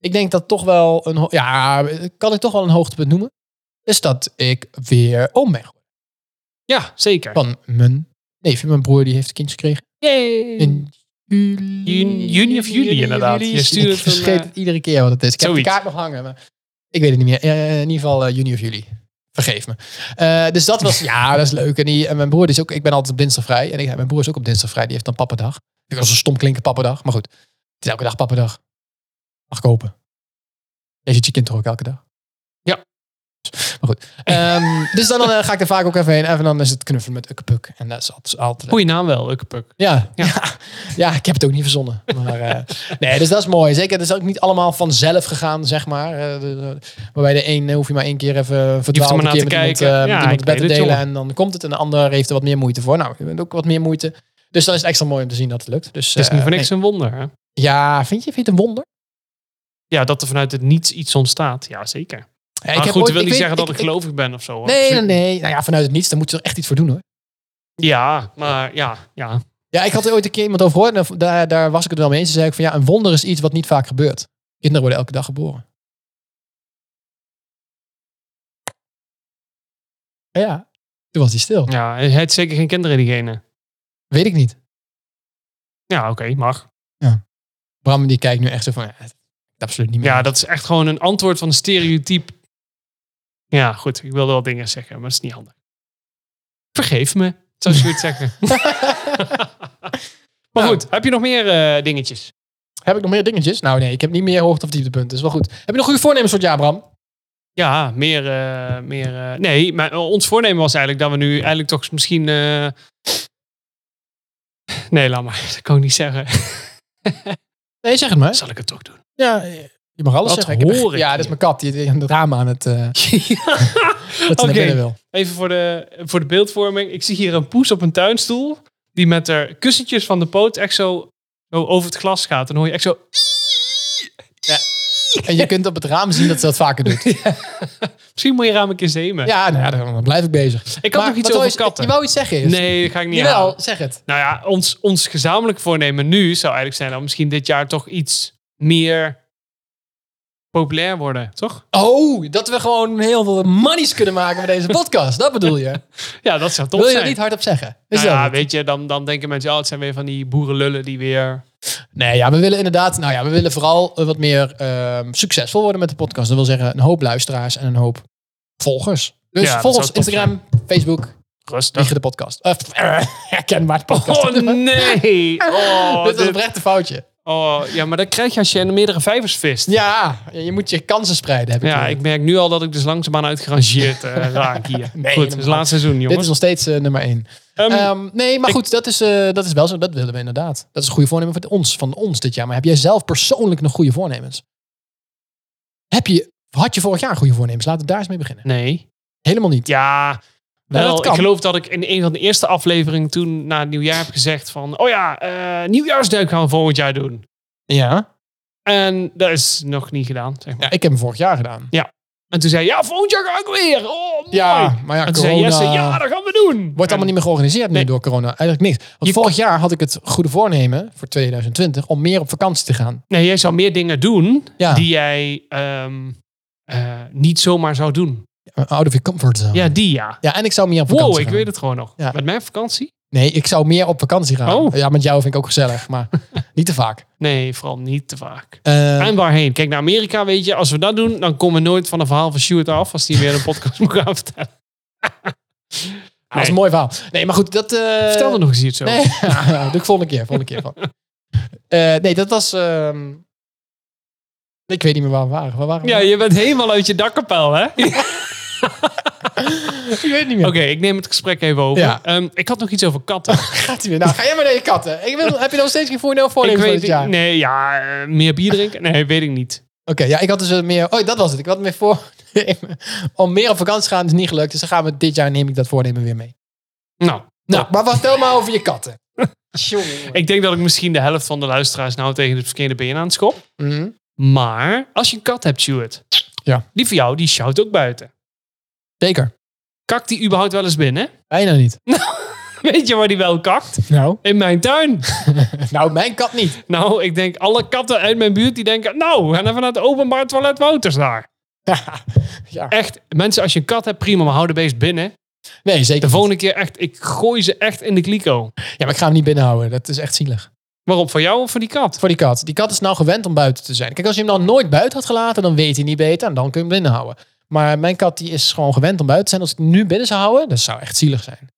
S2: ik denk dat toch wel een... ho- Ja, kan ik toch wel een hoogtepunt noemen? Is dat ik weer oom ben geworden.
S1: Ja, zeker.
S2: Van mijn neefje, mijn broer, die heeft kindjes gekregen.
S1: Yay.
S2: In juli,
S1: Jun- juni of juli, inderdaad. Je stuurde
S2: ik
S1: het een,
S2: vergeet
S1: eh,
S2: het iedere keer wat het is. Ik heb
S1: zoiets.
S2: de kaart nog hangen. Maar ik weet het niet meer. Eh, in ieder geval eh, juni of juli. Vergeef me. Eh, dus dat was, ja, dat is leuk. En, die, en mijn broer is ook, ik ben altijd op dinsdag vrij. En ik, mijn broer is ook op dinsdag vrij. Die heeft dan pappendag. Ik was een stom klinken pappendag. Maar goed, het is elke dag pappendag. Mag kopen. Jij ziet je kind toch ook elke dag?
S1: Ja.
S2: Maar goed. Ehm, dus dan eh, ga ik er vaak ook even heen. Even dan is het knuffelen met Ukkepuk. En dat is altijd, altijd
S1: Goeie naam wel, Ukkepuk.
S2: ja,
S1: Ja.
S2: ja. ja, ik heb het ook niet verzonnen. Maar, eh, nee, dus dat is mooi. Zeker, het is ook niet allemaal vanzelf gegaan, zeg maar. Eh, de- de- waarbij de een eh, hoef je maar één keer even verdwaald
S1: maar
S2: een
S1: na
S2: keer
S1: te
S2: met iemand,
S1: kijken.
S2: eh, met
S1: Ja,
S2: iemand
S1: ik
S2: het bed te
S1: weet het,
S2: delen
S1: jongen.
S2: en dan komt het. En de ander heeft er wat meer moeite voor. Nou, je bent ook wat meer moeite. Dus dan is het extra mooi om te zien dat het lukt. Dus,
S1: Het is
S2: eh,
S1: niet voor
S2: nee.
S1: niks een wonder, hè?
S2: Ja, vind je, vind je het een wonder?
S1: Ja, dat er vanuit het niets iets ontstaat. Ja, zeker.
S2: Ja,
S1: maar goed,
S2: ooit-
S1: dat wil niet
S2: weet-
S1: zeggen dat ik, gelovig ben of zo. hoor.
S2: Nee, nee,
S1: Absoluut
S2: nee. Nou ja, vanuit het niets, daar moet je er echt iets voor doen hoor.
S1: niet. Ja, maar ja, ja.
S2: Ja, ik had er ooit een keer iemand over gehoord. En daar, daar was ik het wel mee eens. Toen zei ik van ja, een wonder is iets wat niet vaak gebeurt. Kinderen worden elke dag geboren. Ja, toen was hij stil.
S1: ja hij heeft zeker geen kinderen, diegene.
S2: Weet ik niet.
S1: Ja, oké, mag.
S2: Bram die kijkt nu echt zo van ja, dat is absoluut niet meer.
S1: Ja, dat is echt gewoon een antwoord van een stereotype. Ja, goed, ik wilde wel dingen zeggen, maar dat is niet handig. Vergeef me, zou je het zeggen. maar
S2: Nou.
S1: goed, heb je nog meer eh, dingetjes?
S2: Heb ik nog meer dingetjes? Nou nee, ik heb niet meer hoogte of dieptepunten. Dat is wel goed. Heb je nog goede voornemens voor het jaar, Bram?
S1: Ja, meer. eh, meer eh, nee, maar eh, ons voornemen was eigenlijk dat we nu eigenlijk toch misschien. eh, Nee, laat maar. Dat kan ik niet zeggen.
S2: Nee, zeg het maar.
S1: Zal ik het toch doen?
S2: Ja, je mag alles
S1: Wat
S2: zeggen. heb-
S1: hoor ik
S2: ja, dat
S1: hier?
S2: is mijn kat. Die die aan het raam aan het... eh dat ze
S1: Oké.
S2: naar binnen wil.
S1: Even voor de, voor de beeldvorming. Ik zie hier een poes op een tuinstoel. Die met haar kussentjes van de poot echt zo, zo over het glas gaat. En dan hoor je echt zo...
S2: En je kunt op het raam zien dat ze dat vaker doet.
S1: Misschien moet je raam een keer zemen.
S2: Ja, nou ja, dan dan blijf ik bezig.
S1: Ik had
S2: Maar
S1: nog iets
S2: wat wou
S1: over
S2: je-
S1: katten.
S2: Je wou iets zeggen eerst?
S1: Nee, dat ga ik niet
S2: Jawel,
S1: halen.
S2: zeg het.
S1: Nou ja, ons, ons gezamenlijk voornemen nu zou eigenlijk zijn... om misschien dit jaar toch iets meer populair worden, toch?
S2: Oh, dat we gewoon heel veel monies kunnen maken met deze podcast. Dat bedoel je?
S1: Ja, dat zou tof
S2: Wil je
S1: zijn.
S2: er niet hardop zeggen? Is
S1: Nou ja,
S2: dat het?
S1: weet je, dan, dan denken mensen... oh, het zijn weer van die boerenlullen die weer...
S2: Nee, ja, we willen inderdaad... Nou ja, we willen vooral eh, wat meer ehm, succesvol worden met de podcast. Dat wil zeggen een hoop luisteraars en een hoop volgers. Dus
S1: Ja, dat
S2: volg
S1: zou
S2: ons
S1: tof
S2: Instagram, Facebook,
S1: Rustig.
S2: Liegen de podcast. Eh, herkenbaar de podcast.
S1: Oh nee! Oh,
S2: dit was
S1: dit-
S2: een rechte foutje.
S1: Oh, ja, maar dat krijg je als je meerdere vijvers vist.
S2: Ja, je moet je kansen spreiden, heb ik
S1: Ja,
S2: gehoord.
S1: ik merk nu al dat ik dus langzaamaan uitgerangeerd eh, raak hier.
S2: Nee,
S1: Goed, het is
S2: helemaal.
S1: laatste seizoen,
S2: Dit is
S1: jongens.
S2: nog steeds eh, nummer één.
S1: Ehm,
S2: Ehm, nee, maar
S1: ik-
S2: goed, dat is, eh, dat is wel zo. Dat willen we inderdaad. Dat is een goede voornemen van ons, van ons dit jaar. Maar heb jij zelf persoonlijk nog goede voornemens? Heb je, had je vorig jaar goede voornemens? Laten we daar eens mee beginnen.
S1: nee.
S2: Helemaal niet.
S1: Ja,
S2: Wel,
S1: wel,
S2: het
S1: ik
S2: kan.
S1: geloof dat ik in een van de eerste afleveringen toen na het nieuwjaar heb gezegd van... Oh ja, eh, nieuwjaarsduik gaan we volgend jaar doen.
S2: Ja.
S1: En dat is nog niet gedaan, zeg maar.
S2: Ik heb hem vorig jaar gedaan.
S1: En toen zei hij, ja, volgend jaar ga ik weer. Oh, mooi.
S2: Ja, maar ja,
S1: en toen
S2: corona
S1: zei Jesse, ja, dat gaan we doen.
S2: wordt allemaal niet meer georganiseerd nu
S1: Nee.
S2: door corona. Eigenlijk niks. Want
S1: Je-
S2: vorig jaar had ik het goede voornemen voor 2020 om meer op vakantie te gaan.
S1: Nee, jij zou meer dingen doen
S2: Ja.
S1: die jij ehm, eh, niet zomaar zou doen.
S2: eh, Out of your comfort zone.
S1: Ja, die ja.
S2: Ja, en ik zou meer Ah. op vakantie
S1: Wow, ik
S2: gaan.
S1: weet het gewoon nog.
S2: Ja.
S1: Met mijn vakantie?
S2: Nee, ik zou meer op vakantie gaan.
S1: Oh.
S2: Ja, met jou vind ik ook gezellig, maar niet te vaak.
S1: Nee, vooral niet te vaak.
S2: Eh,
S1: En waarheen? Kijk, naar Amerika, weet je, als we dat doen, dan komen we nooit van een verhaal van Stuart af als die weer een podcast moet gaan vertellen.
S2: Ah, Dat is een mooi verhaal. Nee, maar goed, dat... eh,
S1: Vertel er nog eens iets over.
S2: Nee, ja, doe ik volgende keer. Volgende keer van. Eh, nee, dat was... ehm, ik weet niet meer waar we waren. Waar waren we?
S1: Ja, je bent helemaal uit je dakkapel, hè? Oké,
S2: ik weet niet meer.
S1: ik neem het gesprek even over.
S2: Ja.
S1: Ehm, ik had nog iets over katten.
S2: Gaat hij weer? Nou, ga jij maar naar je katten. Ik wil, heb je nog steeds geen voornemen voor
S1: ik
S2: voor
S1: weet
S2: dit jaar?
S1: Nee, ja, eh, meer bier drinken? Nee, weet ik niet.
S2: Oké, ja, ik had dus eh, meer... Oh, dat was het. Ik had meer voornemen om meer op vakantie te gaan. Dat is niet gelukt. Dus dan gaan we dit jaar neem ik dat voornemen weer mee.
S1: Nou,
S2: Nou, maar vertel maar over je katten. Tjonge.
S1: ik denk dat ik misschien de helft van de luisteraars nou tegen het verkeerde been aan het schop.
S2: Mhm.
S1: Maar als je een kat hebt, Stuart,
S2: Ja.
S1: die van jou, die sjouwt ook buiten.
S2: Zeker.
S1: Kakt die überhaupt wel eens binnen?
S2: Bijna niet.
S1: Weet je waar die wel kakt?
S2: Nou?
S1: In mijn tuin.
S2: Nou, mijn kat niet.
S1: Nou, ik denk alle katten uit mijn buurt die denken... Nou, we gaan even naar het openbaar toilet Wouters daar.
S2: Ja.
S1: Echt, mensen, als je een kat hebt, prima. Maar hou de beest binnen.
S2: Nee, zeker
S1: De volgende keer echt, ik gooi ze echt in de kliko.
S2: niet. Ja, maar ik ga hem niet binnenhouden. Dat is echt zielig.
S1: Waarop, voor jou of voor die kat?
S2: Voor die kat. Die kat is nou gewend om buiten te zijn. Kijk, als je hem dan nooit buiten had gelaten, dan weet hij niet beter. En dan kun je hem binnenhouden. Maar mijn kat die is gewoon gewend om buiten te zijn. Als ik hem nu binnen zou houden, dat zou echt zielig zijn.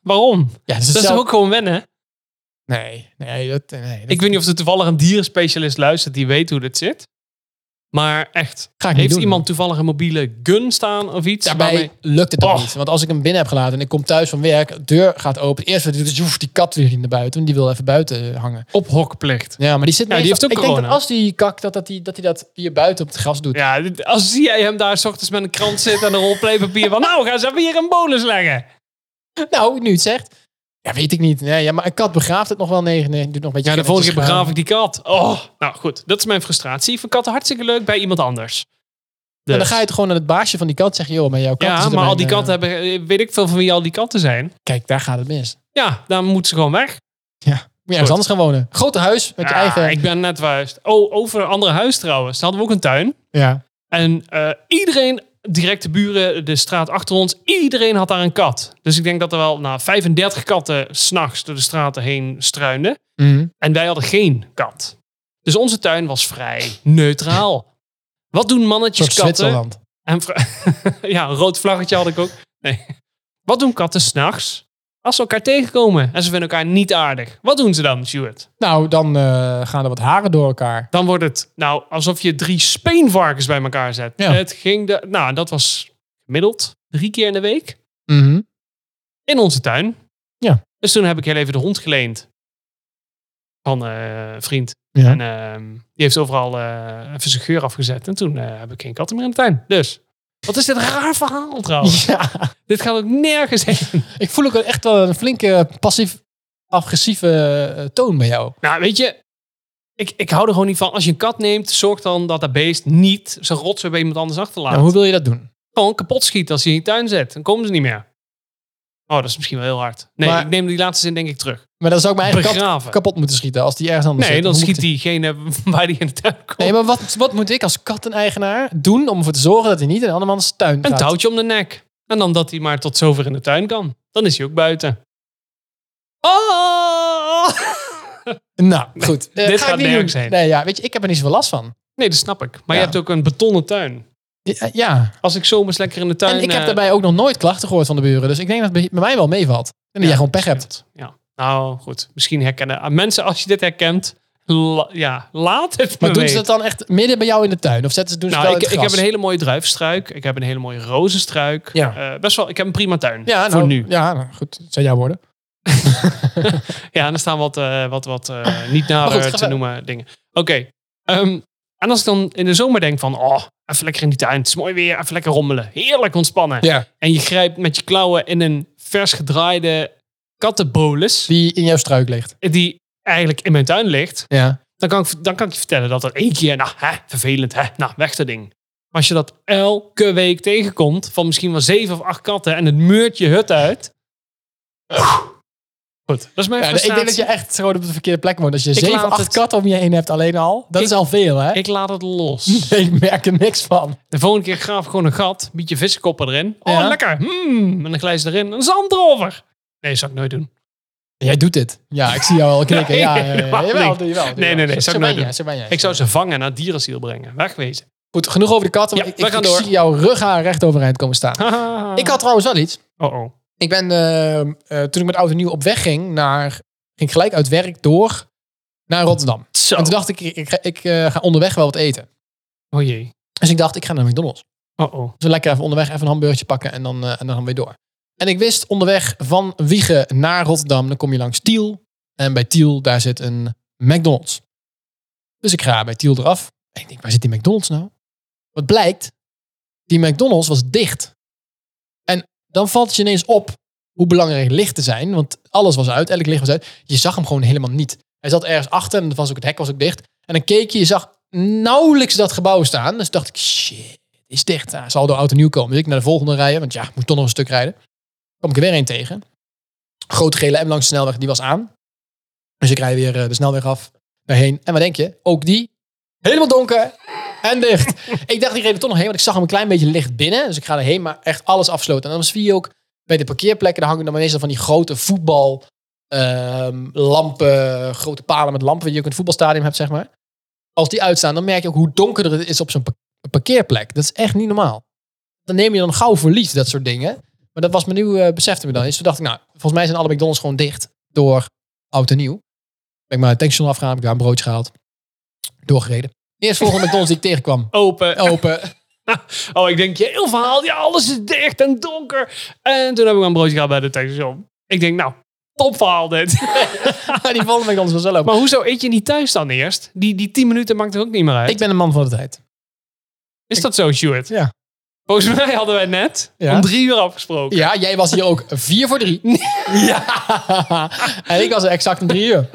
S1: Waarom?
S2: Ja, dus
S1: Dat is toch ook gewoon wennen?
S2: Nee, nee, dat... Nee, dat
S1: Ik weet niet of er toevallig een dierenspecialist luistert die weet hoe dit zit. Maar echt,
S2: ga ik niet
S1: heeft
S2: doen.
S1: iemand toevallig een mobiele gun staan of iets?
S2: Daarbij
S1: waarmee-
S2: lukt het ook
S1: Och.
S2: niet. Want als ik hem binnen heb gelaten en ik kom thuis van werk, deur gaat open. Eerst weer, dus hoeft die kat weer naar buiten. Want die wil even buiten hangen.
S1: op hokplicht.
S2: Ja, maar die zit
S1: Ja, die
S2: meestal-
S1: heeft ook
S2: Ik denk dat
S1: corona.
S2: als die kak, dat, dat, die, dat die dat hier buiten op het gras doet.
S1: Ja, dit- als zie jij hem daar s ochtends met een krant zitten en een rol playpapier van... Nou, ga eens even hier een bolus leggen.
S2: Nou, nu het zegt. Ja, weet ik niet. Nee, ja, maar een kat begraaft het nog wel. Nee, nee, doet nog een beetje
S1: Ja, de volgende
S2: ginnetjes
S1: keer Dus begraaf
S2: gaan.
S1: ik die kat. Oh, nou goed, dat is mijn frustratie. Ik vind katten hartstikke leuk bij iemand anders.
S2: En dan
S1: Dus.
S2: ga je het gewoon naar het baasje van die kat zeggen, joh, maar jouw kat is
S1: Ja,
S2: er
S1: maar
S2: bij
S1: al die
S2: een, eh,
S1: katten hebben... eh, Weet ik veel van wie al die katten zijn.
S2: Kijk, daar gaat het mis.
S1: Ja, dan moeten ze gewoon weg.
S2: Moet je ergens
S1: Goed.
S2: anders gaan wonen. Grote huis met je
S1: Ah,
S2: eigen...
S1: Ik ben net verhuisd. Oh, over een andere huis trouwens. Daar hadden we ook een tuin.
S2: Ja.
S1: En eh, iedereen, direct de buren, de straat achter ons, iedereen had daar een kat. Dus ik denk dat er wel nou, 35 katten s'nachts door de straten heen struinden.
S2: Mhm.
S1: En wij hadden geen kat. Dus onze tuin was vrij neutraal. Wat doen
S2: Een
S1: mannetjes
S2: soort
S1: katten?
S2: Zwitserland.
S1: En vrou- ja, een rood vlaggetje had ik ook. Nee. Wat doen katten s'nachts als ze elkaar tegenkomen en ze vinden elkaar niet aardig? Wat doen ze dan, Stuart?
S2: Nou, dan eh, gaan er wat haren door elkaar.
S1: Dan wordt het nou alsof je drie speenvarkens bij elkaar zet.
S2: Ja.
S1: Het ging de, nou, dat was gemiddeld drie keer in de week
S2: Mhm.
S1: Mm-hmm. in onze tuin.
S2: Ja.
S1: Dus toen heb ik heel even de hond geleend van eh, een vriend.
S2: Ja.
S1: En ehm, die heeft overal eh even zijn geur afgezet. En toen eh, heb ik geen katten meer in de tuin. Dus wat is dit raar verhaal trouwens?
S2: Ja.
S1: Dit gaat ook nergens heen.
S2: Ik voel ook echt wel een flinke passief-agressieve eh, toon bij jou.
S1: Nou, weet je, ik, ik hou er gewoon niet van. Als je een kat neemt, zorg dan dat dat beest niet zijn rotzooi bij iemand anders achterlaat.
S2: Nou, hoe wil je dat doen?
S1: gewoon kapot schieten als je in je tuin zet. Dan komen ze niet meer. Oh, dat is misschien wel heel hard. Nee,
S2: Maar-
S1: ik neem die laatste zin denk ik terug.
S2: Maar dan zou ik mijn eigen kat
S1: Begraven.
S2: kapot moeten schieten als die ergens anders
S1: Nee,
S2: zit.
S1: dan
S2: Hoe moet
S1: schiet
S2: ik-
S1: diegene waar die in de tuin komt.
S2: Nee, maar wat, wat moet ik als katteneigenaar doen om ervoor te zorgen dat hij niet in een andermans tuin gaat?
S1: Een touwtje om de nek. En dan dat hij maar tot zover in de tuin kan. Dan is hij ook buiten. Oh!
S2: Nou, goed. Eh,
S1: dit
S2: ga
S1: gaat
S2: ik niet
S1: nergens
S2: doen.
S1: heen.
S2: Nee, ja, weet je, ik heb er niet zoveel last van.
S1: Nee, dat snap ik. Maar
S2: Ja.
S1: je hebt ook een betonnen tuin.
S2: Ja, eh, ja.
S1: Als ik zomers lekker in de tuin...
S2: en ik heb
S1: eh,
S2: daarbij ook nog nooit klachten gehoord van de buren. Dus ik denk dat het bij mij wel meevalt. En dat
S1: Ja,
S2: jij gewoon pech hebt.
S1: Ja. Nou, goed. Misschien herkennen. Ah, Mensen, als je dit herkent... la- ja, laat het
S2: Maar
S1: me
S2: doen ze
S1: weten.
S2: dat dan echt midden bij jou in de tuin? Of zetten ze, doen ze
S1: Nou,
S2: het
S1: ik, ik
S2: Dus wel
S1: heb
S2: in het
S1: een
S2: gras?
S1: hele mooie druivenstruik. Ik heb een hele mooie rozenstruik.
S2: Ja.
S1: Eh, best wel, ik heb een prima tuin.
S2: Ja, nou,
S1: voor nu.
S2: Ja, nou, goed. Dat zijn jouw woorden.
S1: Ja, en er staan wat, eh, wat, wat eh, niet naar
S2: Maar goed,
S1: eh,
S2: ga
S1: te
S2: verder.
S1: noemen dingen. Oké. ehm, en als ik dan in de zomer denk van... Oh, even lekker in die tuin. Het is mooi weer. Even lekker rommelen. Heerlijk ontspannen.
S2: Ja.
S1: En je grijpt met je klauwen in een vers gedraaide kattenbolus...
S2: Die in jouw struik ligt.
S1: die eigenlijk in mijn tuin ligt.
S2: Ja.
S1: Dan kan, ik, dan kan ik je vertellen dat dat één keer, nou, hè, vervelend, hè, nou, weg dat ding. Maar als je dat elke week tegenkomt, van misschien wel zeven of acht katten en het meurt je hut uit. Goed, dat is mijn
S2: Ja, dus
S1: frustratie.
S2: ik denk dat je echt gewoon op de verkeerde plek woont. Als je
S1: Ik
S2: zeven,
S1: laat
S2: acht
S1: het-
S2: katten om je heen hebt alleen al. Dat
S1: Ik-
S2: is al veel, hè?
S1: Ik laat het los.
S2: Ik merk er niks van.
S1: De volgende keer graaf ik gewoon een gat, bied je vissenkoppen erin. Oh,
S2: Ja.
S1: lekker. Hmm. En dan glijst erin. En dan is de hand erover. Nee, zou ik nooit doen.
S2: Jij doet dit. Ja, ik zie jou al knikken. Ja, ja, ja, ja.
S1: helemaal
S2: Jawel,
S1: niet.
S2: doe je wel, doe je
S1: Nee,
S2: wel.
S1: nee, nee,
S2: Zo,
S1: zou
S2: zo
S1: ik
S2: ben
S1: nooit
S2: jij,
S1: doen.
S2: zo ben jij.
S1: Ik zou ze vangen naar dierenziel brengen. Wegwezen.
S2: Goed, genoeg over de katten.
S1: Ja,
S2: want
S1: we
S2: ik, ik,
S1: gaan
S2: ik
S1: door.
S2: zie jouw rughaar recht overeind komen staan.
S1: Haha.
S2: Ik had trouwens wel iets.
S1: Oh, oh.
S2: Ik ben, eh, eh, toen ik met Oud en Nieuw op weg ging, naar, ging ik gelijk uit werk door naar Rotterdam.
S1: Zo.
S2: En toen dacht ik, ik, ik, ga- ik, eh, ga onderweg wel wat eten.
S1: Oh jee.
S2: Dus ik dacht, ik ga naar McDonald's.
S1: Oh, oh.
S2: Dus we lekker even onderweg even een hamburgertje pakken en dan, eh, en dan gaan we weer door. En ik wist onderweg van Wiegen naar Rotterdam, dan kom je langs Tiel. En bij Tiel, daar zit een McDonald's. Dus ik ga bij Tiel eraf. En ik denk, waar zit die McDonald's nou? Wat blijkt, die McDonald's was dicht. En dan valt het je ineens op hoe belangrijk lichten zijn. Want alles was uit, elk licht was uit. Je zag hem gewoon helemaal niet. Hij zat ergens achter en dan was ook het hek was ook dicht. En dan keek je, je zag nauwelijks dat gebouw staan. Dus dacht ik, shit is dicht. Nou, zal door oud en nieuw komen. Dus ik naar de volgende rijden, want ja, ik moet toch nog een stuk rijden. Kom ik er weer een tegen. Grote gele M langs de snelweg, die was aan. Dus ik rij weer eh, de snelweg af, daarheen. En wat denk je? Ook die, helemaal donker en dicht. ik dacht, ik reed er toch nog heen, want ik zag hem een klein beetje licht binnen. Dus ik ga erheen, maar echt alles afsloten. En dan zie je ook bij de parkeerplekken, daar hangen dan meestal van die grote voetbal... ehm, lampen, grote palen met lampen die je ook in het voetbalstadion hebt, zeg maar. Als die uitstaan, dan merk je ook hoe donkerder het is op zo'n een parkeerplek. Dat is echt niet normaal. Dan neem je dan gauw verlies, dat soort dingen. Maar dat was me nu, eh, besefte me dan eens. Toen dacht ik, nou, volgens mij zijn alle McDonald's gewoon dicht door oud en nieuw. Ben ik maar het tankstation afgegaan, heb ik daar een broodje gehaald. Doorgereden. Eerst volgende McDonald's die ik tegenkwam.
S1: Open.
S2: Open.
S1: Oh, ik denk, je heel verhaal. Ja, alles is dicht en donker. En toen heb ik maar een broodje gehad bij de tankstation. Ik denk, nou, top verhaal dit.
S2: Maar die volgende McDonald's was wel open.
S1: Maar hoezo eet je niet thuis dan eerst? Die, die 10 minuten maakt er ook niet meer uit.
S2: Ik ben een man van de tijd.
S1: is dat zo, Stuart?
S2: Ja.
S1: Volgens mij hadden wij net
S2: Ja.
S1: om drie uur afgesproken.
S2: Ja, jij was hier ook vier voor drie. Ja. En ik was er exact om drie uur.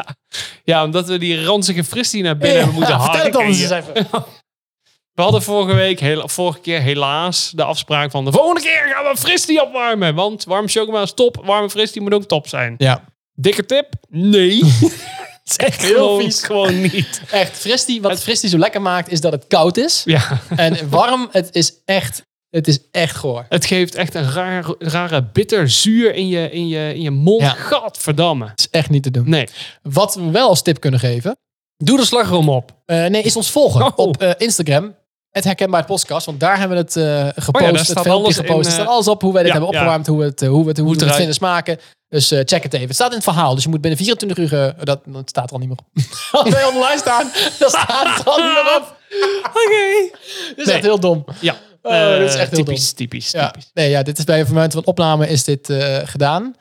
S1: Ja, omdat we die ranzige fris die naar binnen hebben moeten
S2: Ja,
S1: halen.
S2: Vertel het anders eens even.
S1: We hadden vorige week, heel, vorige keer helaas, de afspraak van de volgende keer gaan we fris die opwarmen. Want warme chocola is top, warme fris die moet ook top zijn.
S2: Ja.
S1: Dikke tip? Nee.
S2: Het is echt
S1: Gewoon-
S2: heel vies.
S1: Gewoon niet.
S2: Echt, Fristie, wat Fristie zo lekker maakt, is dat het koud is.
S1: Ja.
S2: En warm, het is echt, het is echt goor.
S1: Het geeft echt een raar, rare bitter zuur in je, in je, in je mond.
S2: Ja.
S1: Gadverdamme.
S2: Het is echt niet te doen.
S1: Nee.
S2: Wat we wel als tip kunnen geven,
S1: Doe de slagroom op.
S2: eh, nee, is ons volgen
S1: Oh.
S2: op eh, Instagram. Het herkenbaar podcast, want daar hebben we het eh, gepost.
S1: Oh daar
S2: het
S1: staat
S2: filmpje
S1: alles
S2: gepost.
S1: in,
S2: er staat
S1: eh,
S2: alles op hoe wij dit
S1: ja,
S2: hebben opgewarmd, hoe, we het, eh, hoe we het, hoe we het
S1: eruit.
S2: vinden smaken. Dus eh, check het even. Het staat in het verhaal, dus je moet binnen 24 uur. eh, dat, dat staat er al niet meer op. Als wij online staan, dan staat het al niet meer op.
S1: Oké.
S2: Dat is
S1: Nee.
S2: echt heel dom.
S1: Ja.
S2: Oh, dat is
S1: Eh,
S2: echt heel
S1: typisch, typisch,
S2: Ja,
S1: typisch.
S2: nee, ja, dit is bij het moment van opname is dit eh, gedaan.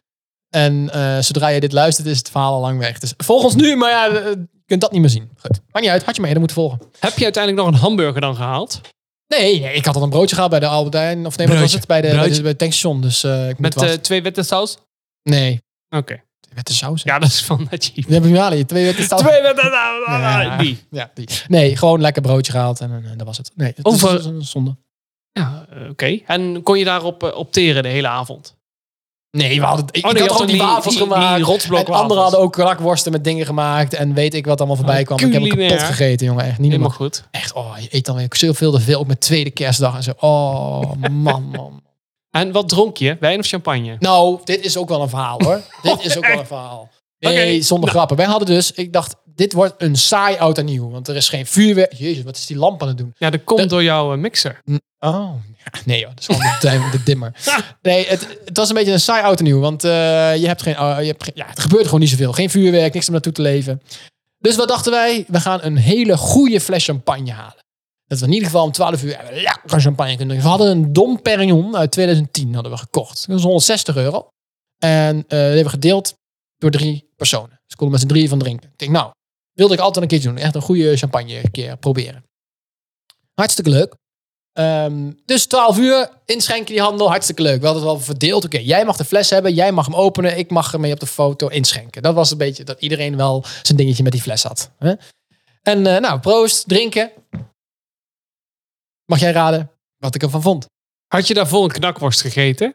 S2: En eh, zodra je dit luistert, is het verhaal al lang weg. Dus volg ons nu, maar ja, eh, je kunt dat niet meer zien. Goed. Maakt niet uit, had je maar eerder moeten volgen.
S1: Heb je uiteindelijk nog een hamburger dan gehaald?
S2: Nee, nee, ik had al een broodje gehaald bij de Albert Heijn. Of nee, wat was
S1: Broodje.
S2: het? Bij de, bij
S1: Broodje.
S2: de, bij het tankstation. Dus eh, ik moet
S1: Met
S2: wel-
S1: eh, twee witte saus? Oké.
S2: Nee, witte saus. Ja.
S1: Ja, dat is van dat je.
S2: Die hebben we al. Twee witte saus.
S1: Twee witte saus.
S2: Ja.
S1: Die.
S2: Ja, die. Nee, gewoon lekker broodje gehaald en, eh, dat was het. Nee, het
S1: Over-
S2: is een zonde.
S1: Ja, eh, oké. En kon je daarop eh, opteren de hele avond?
S2: Oh, Nee, we hadden, ik,
S1: nee,
S2: ik
S1: je
S2: had
S1: had
S2: gewoon die,
S1: die-
S2: wafels
S1: die- die
S2: gemaakt.
S1: rotsblok
S2: en
S1: wafels.
S2: anderen hadden ook knakworsten met dingen gemaakt. En weet ik wat allemaal voorbij
S1: Oh,
S2: kwam. Ik heb hem kapot
S1: culinair.
S2: gegeten, jongen. Echt Ah, niet normaal.
S1: Helemaal goed.
S2: Echt, oh, je eet dan weer zoveel te veel. Ook met tweede kerstdag en zo. Oh, man, man.
S1: En wat dronk je? Wijn of champagne?
S2: Nou, dit is ook wel een verhaal, hoor. Dit is ook wel een verhaal. Nee,
S1: Oké.
S2: zonder grappen. Wij hadden dus, ik dacht, dit wordt een saai oud en nieuw. Want er is geen vuurwerk. Jezus, wat is die lamp aan het doen?
S1: Ja, dat komt
S2: Dat-
S1: door jouw eh, mixer.
S2: Oh, ja, nee joh, dat is gewoon de, dim- de dimmer. Nee, het, het was een beetje een saai oud en nieuw. Want eh, je hebt geen, eh, je hebt geen- ja, het gebeurt gewoon niet zoveel. Geen vuurwerk, niks om naartoe te leven. Dus wat dachten wij? We gaan een hele goede fles champagne halen. Dat we in ieder geval om 12 uur hebben lekker champagne kunnen drinken. We hadden een Dom Perignon uit 2010 hadden we gekocht. Dat is 160 euro. En eh, die hebben we gedeeld door drie personen. Dus we konden met z'n drieën van drinken. Ik denk, nou, wilde ik altijd een keertje doen. Echt een goede champagne een keer proberen. Hartstikke leuk. Ehm, dus 12 uur, inschenken die handel, hartstikke leuk. We hadden het al verdeeld. Oké, jij mag de fles hebben, jij mag hem openen, ik mag ermee op de foto inschenken. Dat was een beetje dat iedereen wel zijn dingetje met die fles had. Hè? En eh, nou, proost, drinken. Mag jij raden wat ik ervan vond?
S1: Had je daarvoor een knakworst gegeten?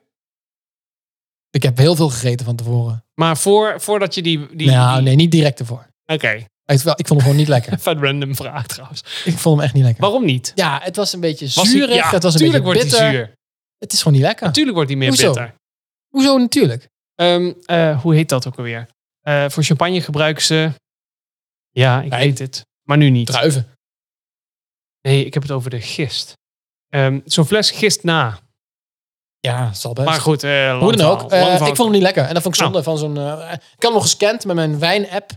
S2: Ik heb heel veel gegeten van tevoren.
S1: Maar voor, voordat je die... die
S2: nou,
S1: die-
S2: nee, niet direct ervoor.
S1: Oké,
S2: Echt wel, Ik vond hem gewoon niet lekker.
S1: vet random vraag trouwens.
S2: Ik vond hem echt niet lekker.
S1: Waarom niet?
S2: Ja, het was een beetje
S1: Was die-
S2: zuurig.
S1: ja,
S2: het was een
S1: tuurlijk
S2: beetje
S1: wordt
S2: bitter.
S1: die zuur.
S2: Het is gewoon niet lekker.
S1: Natuurlijk wordt die meer
S2: Hoezo?
S1: bitter.
S2: Hoezo natuurlijk?
S1: Ehm, eh, hoe heet dat ook alweer? Eh, voor champagne gebruiken ze... Ja, ik
S2: Nee.
S1: weet het. Maar nu niet.
S2: Druiven.
S1: Nee, ik heb het over de gist. Ehm, Zo'n fles gist na.
S2: Ja, zal best.
S1: Maar goed, eh, lang
S2: Hoe dan
S1: verhaal,
S2: ook.
S1: lang
S2: eh, ik
S1: verhaal.
S2: vond hem niet lekker. En dat vond ik zonde van zo'n... eh, ik had hem nog gescand met mijn wijn-app.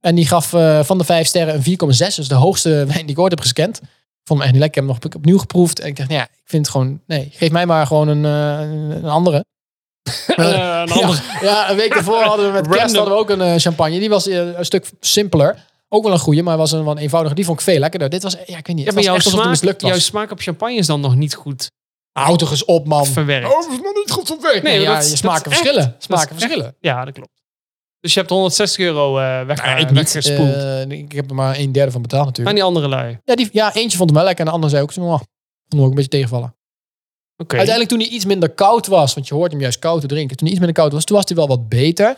S2: En die gaf eh, van de vijf sterren een 4,6. Dus de hoogste wijn die ik ooit heb gescand. Ik vond hem echt niet lekker. Ik heb hem nog opnieuw geproefd. En ik dacht, nou ja, ik vind het gewoon... Nee, geef mij maar gewoon een, eh, een andere.
S1: Eh, een andere-
S2: Ja, ja, een week daarvoor hadden we met kerst
S1: Random.
S2: hadden we ook een eh, champagne. Die was eh, een stuk simpeler. Ook wel een goede, maar was een wat eenvoudiger. Die vond ik veel lekkerder. Dit was, ja, ik weet niet.
S1: Ja,
S2: Het
S1: maar
S2: was
S1: jouw
S2: echt alsof het
S1: smaak,
S2: mislukt was.
S1: jouw smaak op champagne is dan nog niet goed
S2: Houd toch eens op, man.
S1: verwerkt.
S2: Oh, dat is nog niet goed van werk. Nee,
S1: Nee,
S2: ja,
S1: dat is-
S2: je
S1: dat
S2: smaken
S1: is echt-
S2: verschillen.
S1: dat is
S2: smaken
S1: echt
S2: verschillen.
S1: Ja, dat klopt. Dus je hebt 160 euro eh weg,
S2: Ja, ik,
S1: eh,
S2: niet,
S1: weggespoeld.
S2: Eh, ik heb er maar een derde van betaald
S1: Maar
S2: natuurlijk.
S1: die andere lui.
S2: Ja, die, ja, eentje vond hem wel lekker en de ander zei ook, oh, vond hem ook een beetje tegenvallen.
S1: Oké.
S2: Uiteindelijk toen hij iets minder koud was, want je hoort hem juist koud te drinken. Toen hij iets minder koud was, toen was hij wel wat beter.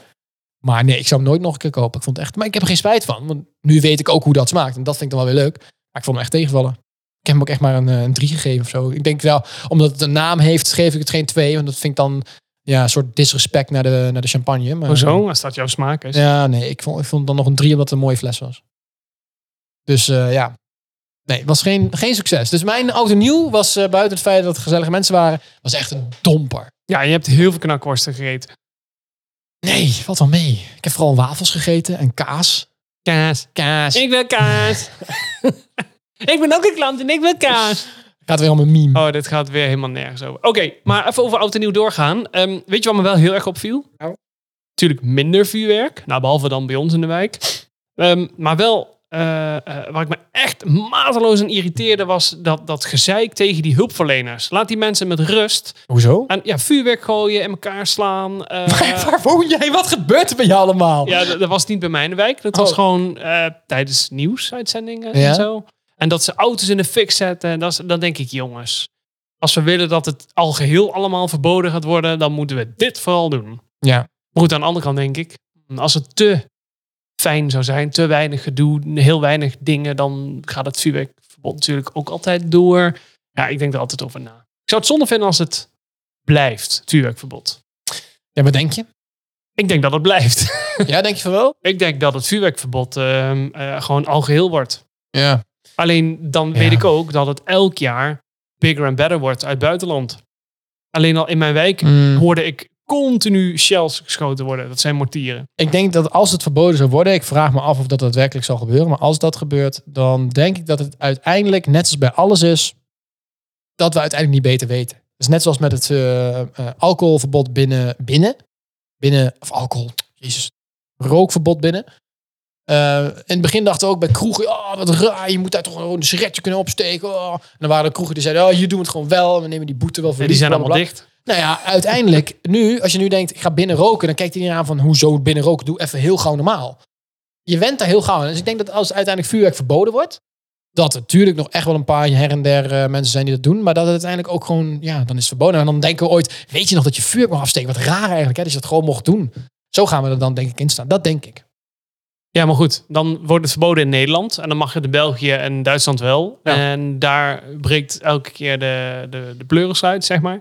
S2: Maar nee, ik zou hem nooit nog een keer kopen. Ik vond het echt, maar ik heb er geen spijt van. Want nu weet ik ook hoe dat smaakt. En dat vind ik dan wel weer leuk. Maar ik vond hem echt tegenvallen. Ik heb hem ook echt maar een, eh, een 3 gegeven of zo. Ik denk wel, omdat het een naam heeft, geef ik het geen 2. Want dat vind ik dan ja, een soort disrespect naar de, naar de champagne. Maar,
S1: Hoezo? Als dat jouw smaak is.
S2: Ja, nee, ik vond, ik vond dan nog een 3 omdat het een mooie fles was. Dus eh, ja. Nee, het was geen, geen succes. Dus mijn auto nieuw was eh, buiten het feit dat het gezellige mensen waren, was echt een domper.
S1: Ja, je hebt heel veel knakworsten gegeten.
S2: Nee, wat dan mee. Ik heb vooral wafels gegeten en kaas.
S1: Kaas.
S2: Kaas.
S1: Ik wil kaas. ik ben ook een klant en ik wil kaas.
S2: Gaat weer om een meme.
S1: Oh, dit gaat weer helemaal nergens over. Oké, maar even over oud en nieuw doorgaan. Ehm, weet je wat me wel heel erg opviel?
S2: Nou?
S1: Natuurlijk minder vuurwerk. Nou, behalve dan bij ons in de wijk. Ehm, maar wel, eh, eh, waar ik me echt mateloos aan irriteerde, was dat, dat gezeik tegen die hulpverleners. Laat die mensen met rust
S2: Hoezo?
S1: aan ja, vuurwerk gooien, in elkaar slaan. eh,
S2: Waar woon jij? Wat gebeurt er bij jou allemaal?
S1: ja, dat, dat was niet bij mij in de wijk. Dat was
S2: Oh.
S1: gewoon eh, tijdens nieuwsuitzendingen
S2: Ja?
S1: en zo. En dat ze auto's in de fik zetten. En dat is, dan denk ik, jongens, als we willen dat het al geheel allemaal verboden gaat worden, dan moeten we dit vooral doen.
S2: Ja.
S1: Maar goed, aan de andere kant denk ik, als het te fijn zou zijn, te weinig gedoe, heel weinig dingen, dan gaat het vuurwerkverbod natuurlijk ook altijd door. Ja, ik denk er altijd over na. Ik zou het zonde vinden als het blijft, het vuurwerkverbod.
S2: Ja, wat denk je?
S1: Ik denk dat het blijft.
S2: Ja, denk je van wel?
S1: Ik denk dat het vuurwerkverbod ehm, eh, gewoon al geheel wordt.
S2: Ja.
S1: Alleen dan
S2: Ja.
S1: weet ik ook dat het elk jaar bigger and better wordt uit het buitenland. Alleen al in mijn wijk
S2: Mhm.
S1: hoorde ik continu shells geschoten worden. Dat zijn mortieren.
S2: Ik denk dat als het verboden zou worden, ik vraag me af of dat daadwerkelijk zal gebeuren, maar als dat gebeurt, dan denk ik dat het uiteindelijk, net als bij alles is, dat we uiteindelijk niet beter weten. Dus net zoals met het eh, eh, alcoholverbod binnen, binnen, binnen, of alcohol, jezus, rookverbod binnen. Eh, in het begin dachten we ook bij kroegen, oh, wat raar, je moet daar toch gewoon een sigaretje kunnen opsteken. oh. En dan waren er kroegen die zeiden, oh, hier doen we het gewoon wel, we nemen die boete wel voor
S1: En die
S2: lief,
S1: zijn
S2: blablabla.
S1: allemaal dicht.
S2: Nou ja, uiteindelijk, nu, als je nu denkt, ik ga binnen roken, dan kijkt hij aan van, hoezo binnen roken? Doe even heel gauw normaal. Je went daar heel gauw aan. Dus ik denk dat als uiteindelijk vuurwerk verboden wordt, dat er natuurlijk nog echt wel een paar her en der eh, mensen zijn die dat doen, maar dat het uiteindelijk ook gewoon, ja, dan is het verboden. En dan denken we ooit, weet je nog dat je vuurwerk mag afsteken? Wat raar eigenlijk, hè, dat je dat gewoon mocht doen. Zo gaan we er dan denk ik in staan. Dat denk ik.
S1: Ja, maar goed. Dan wordt het verboden in Nederland. En dan mag het in België en Duitsland wel.
S2: Ja.
S1: En daar breekt elke keer de, de, de pleuris uit, zeg maar.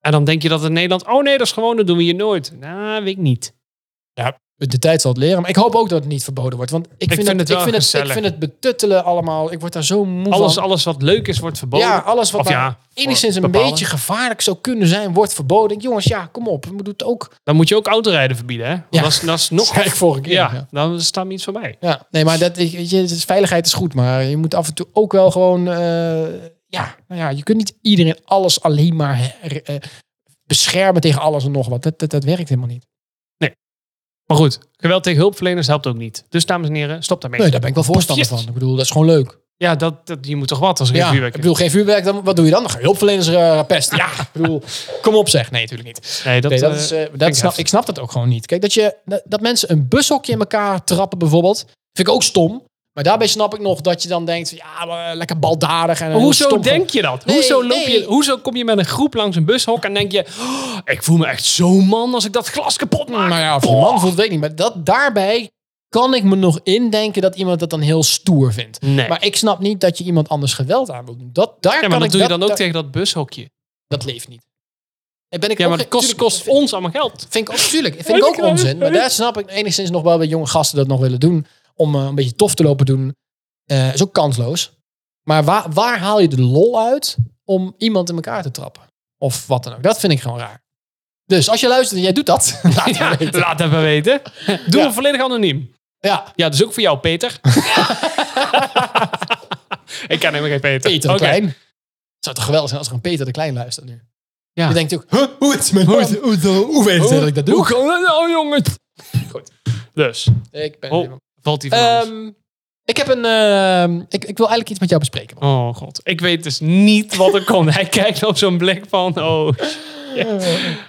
S1: En dan denk je dat in Nederland... Oh nee, dat is gewoon, dat doen we hier nooit. Nou, weet ik niet.
S2: De tijd zal het leren, maar ik hoop ook dat het niet verboden wordt. Want ik vind,
S1: vind
S2: dat-
S1: het
S2: ik
S1: wel
S2: vind het, ik
S1: gezellig.
S2: vind het betuttelen allemaal. Ik word daar zo moe
S1: Alles,
S2: van.
S1: alles wat leuk is, wordt verboden.
S2: Ja, alles wat
S1: Of
S2: maar
S1: ja,
S2: enigszins een
S1: bepalen.
S2: beetje gevaarlijk zou kunnen zijn, wordt verboden. Ik denk, Jongens, ja, kom op. We doen het ook.
S1: Dan moet je ook autorijden verbieden, hè? Want
S2: Ja.
S1: Dat, is, dat is nog...
S2: Zei ik vorige keer.
S1: Ja,
S2: Ja.
S1: dan staat me iets voorbij.
S2: ja. Nee, maar dat, ik- weet je, het is- veiligheid is goed. Maar je moet af en toe ook wel gewoon... eh, ja, nou ja, je kunt niet iedereen alles alleen maar her- eh, beschermen tegen alles en nog wat. Dat, dat, dat werkt helemaal niet.
S1: Maar goed, geweld tegen hulpverleners helpt ook niet. Dus dames en heren, stop daarmee.
S2: Nee, daar ben ik wel voorstander
S1: Yes.
S2: van. Ik bedoel, dat is gewoon leuk.
S1: Ja, dat, dat, je moet toch wat als er
S2: Ja,
S1: geen
S2: ik
S1: vuurwerk is.
S2: bedoel, geen vuurwerk, dan, wat doe je dan? Dan ga je hulpverleners eh, pesten. Ja, ik bedoel, kom op zeg. Nee, natuurlijk niet.
S1: Nee, dat,
S2: Nee, dat
S1: eh,
S2: is, eh, dat
S1: ik
S2: snap,
S1: heftig.
S2: ik snap dat ook gewoon niet. Kijk, dat, je, dat- dat mensen een bushokje in elkaar trappen bijvoorbeeld, vind ik ook stom. Maar daarbij snap ik nog dat je dan denkt, ja, maar eh, lekker baldadig. En eh,
S1: Maar hoezo
S2: stom-
S1: denk je dat?
S2: Nee,
S1: hoezo, loop
S2: nee.
S1: je, hoezo kom je met een groep langs een bushok en denk je... "Oh, ik voel me echt zo man als ik dat glas kapot maak.
S2: Nou ja, of je
S1: Boah.
S2: man voelt, weet ik niet. Maar dat, daarbij kan ik me nog indenken dat iemand dat dan heel stoer vindt.
S1: Nee.
S2: Maar ik snap niet dat je iemand anders geweld aan wilt doen. Dat, daar
S1: Ja, maar
S2: kan
S1: dat
S2: ik
S1: doe je dan ook
S2: daar-
S1: tegen dat bushokje.
S2: Dat leeft niet. En ben ik
S1: Ja,
S2: ook
S1: maar dat
S2: geen-
S1: kost,
S2: tuurlijk-
S1: kost ons allemaal geld.
S2: Vind ik ook, tuurlijk, vind ik ook onzin. Maar daar snap ik enigszins nog wel bij jonge gasten dat nog willen doen. Om eh, een beetje tof te lopen doen. Eh, is ook kansloos. Maar waar, waar haal je de lol uit om iemand in elkaar te trappen? Of wat dan ook. Dat vind ik gewoon raar. Dus als je luistert en jij doet dat. laat het
S1: Ja,
S2: weten.
S1: laat even weten. Doe
S2: Ja.
S1: het volledig anoniem.
S2: ja.
S1: Ja, dus ook voor jou, Peter. ik ken helemaal geen Peter.
S2: Peter de
S1: Oké.
S2: Klein. Het zou toch geweldig zijn als er een Peter de Klein luistert nu.
S1: Ja.
S2: Die denkt ook, huh, hoe is mijn hoe, hoe, hoe, weet het dat ik dat
S1: Hoe
S2: doe?
S1: kan dat nou, jongen?
S2: Goed.
S1: Dus,
S2: Ik ben
S1: Oh. valt die van alles?
S2: Ehm, Ik heb een... ehm, ik, ik wil eigenlijk iets met jou bespreken. man.
S1: Oh god, ik weet dus niet wat er komt. Hij kijkt op zo'n blik van, oh, Oké.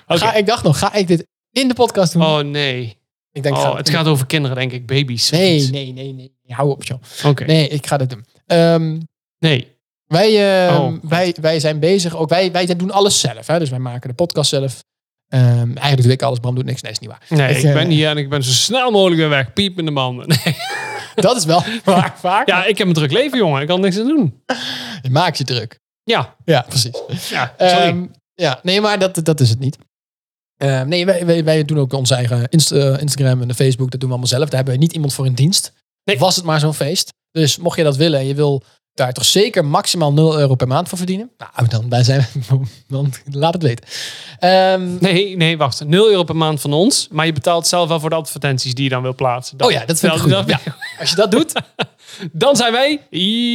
S2: Ga, ik dacht nog, ga ik dit in de podcast doen?
S1: oh nee.
S2: ik denk, ik
S1: Oh,
S2: ga het
S1: het
S2: doen.
S1: gaat over kinderen, denk ik, baby's.
S2: Nee, nee, nee, nee. Hou op, joh.
S1: Oké, nee.
S2: Nee, ik ga dit doen. Ehm, wij, ehm,
S1: Oh, God.
S2: wij, wij zijn bezig, ook wij, wij doen alles zelf. Hè? Dus wij maken de podcast zelf. Ehm, eigenlijk doe ik alles, Bram doet niks. Nee, is niet waar.
S1: Nee,
S2: Ik,
S1: ik,
S2: eh,
S1: ben hier en ik ben zo snel mogelijk weer weg. Piep in de banden. Nee.
S2: Dat is wel waar, vaak.
S1: Ja, ik heb een druk leven, jongen. Ik kan niks aan doen.
S2: Je maakt je druk.
S1: Ja,
S2: Ja, precies.
S1: ja sorry.
S2: Ehm, ja, nee, maar dat, dat is het niet. Ehm, nee, wij, wij, wij doen ook onze eigen Inst- eh, Instagram en de Facebook. Dat doen we allemaal zelf. Daar hebben we niet iemand voor in dienst.
S1: Nee.
S2: Was het maar zo'n feest. Dus mocht je dat willen en je wil daar toch zeker maximaal 0 euro per maand voor verdienen. Nou, dan, wij zijn, dan laat het weten. Ehm,
S1: Nee, nee, wacht. 0 euro per maand van ons. Maar je betaalt zelf wel voor de advertenties die je dan wil plaatsen. Dan-
S2: Oh ja, dat vind ik
S1: dan-
S2: goed.
S1: Dan,
S2: Als je dat doet.
S1: dan zijn wij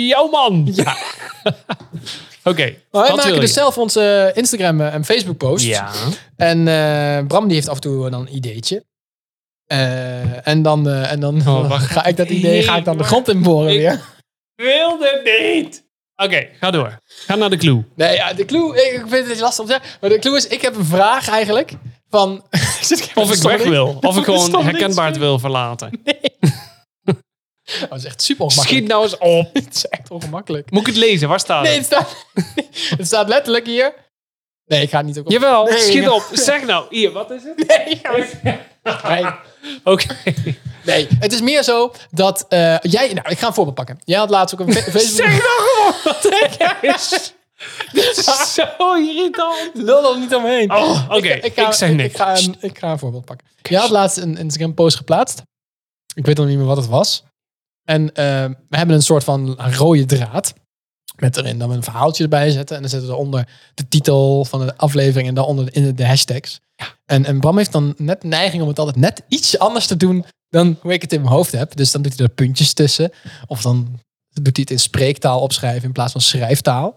S1: jouw man. Ja. Oké.
S2: Maar wij
S1: wat wil
S2: maken dus
S1: je?
S2: zelf onze Instagram en Facebook posts.
S1: Ja.
S2: En eh, Bram die heeft af en toe dan een ideetje. Eh, en dan, eh, en dan
S1: Oh, wacht.
S2: ga ik dat idee ga ik dan de
S1: Hier,
S2: grond in boren
S1: ik-
S2: weer.
S1: Wilde niet. Oké, ga door. Ga naar de clue.
S2: Nee, ja, de clue, ik ik vind het lastig om te zeggen, maar de clue is, ik heb een vraag eigenlijk van... Zit even
S1: Of ik
S2: stom
S1: weg
S2: in?
S1: wil. Of ik
S2: Stond
S1: gewoon
S2: niks
S1: herkenbaar het
S2: in.
S1: wil verlaten.
S2: Oh, dat is echt super
S1: Schiet
S2: ongemakkelijk.
S1: nou eens op.
S2: Het is echt ongemakkelijk.
S1: Moet ik het lezen? Waar staat
S2: Nee,
S1: het?
S2: het staat, het staat letterlijk hier. Nee, ik ga het niet ook op.
S1: Jawel,
S2: Nee,
S1: schiet
S2: ja.
S1: op. Zeg nou. Hier, wat is het?
S2: Nee, ga weg. nee,
S1: Oké.
S2: nee, het is meer zo dat eh, jij... Nou, ik ga een voorbeeld pakken. Jij had laatst ook een fe-
S1: Zeg
S2: Facebook...
S1: nou gewoon wat ik is. Dit is zo irritant.
S2: Lul er niet omheen.
S1: Oh, oké. Ik, zeg niks.
S2: Ik ga, een, ik ga een voorbeeld pakken. Je had laatst een Instagram-post geplaatst. Ik weet nog niet meer wat het was. En eh, we hebben een soort van rode draad. Met erin dan een verhaaltje erbij zetten. En dan zetten we eronder de titel van de aflevering. En daaronder in de, de hashtags. En, en Bram heeft dan net de neiging om het altijd net ietsje anders te doen. dan hoe ik het in mijn hoofd heb. Dus dan doet hij er puntjes tussen. Of dan doet hij het in spreektaal opschrijven in plaats van schrijftaal.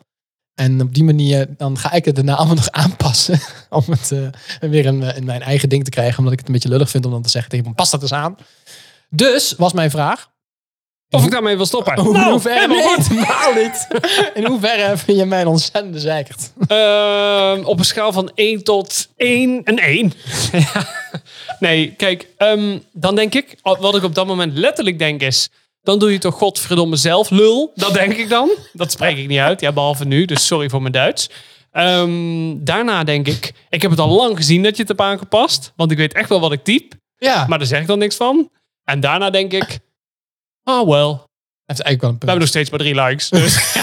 S2: En op die manier dan ga ik het daarna allemaal nog aanpassen. Om het eh, weer in, eh, in mijn eigen ding te krijgen. Omdat ik het een beetje lullig vind om dan te zeggen tegen hem, pas dat eens aan. Dus, was mijn vraag.
S1: Of ik daarmee wil stoppen. Nou,
S2: Hoe, in hoeverre,
S1: helemaal
S2: nee,
S1: goed.
S2: helemaal Nou, niet. In hoeverre vind je mij een ontzettende zeikert?
S1: Ehm, op een schaal van 1 tot 1 en 1. nee, kijk, ehm, dan denk ik, wat ik op dat moment letterlijk denk is, dan doe je toch godverdomme zelf, lul. Dat denk ik dan. Dat spreek ik niet uit, ja, behalve nu, dus sorry voor mijn Duits. Ehm, daarna denk ik, ik heb het al lang gezien dat je het hebt aangepast, want ik weet echt wel wat ik typ,
S2: Ja, maar
S1: maar daar zeg ik dan niks van. En daarna denk ik, ah oh well, we
S2: heeft eigenlijk wel een
S1: hebben
S2: punt.
S1: nog steeds maar drie likes. Dus,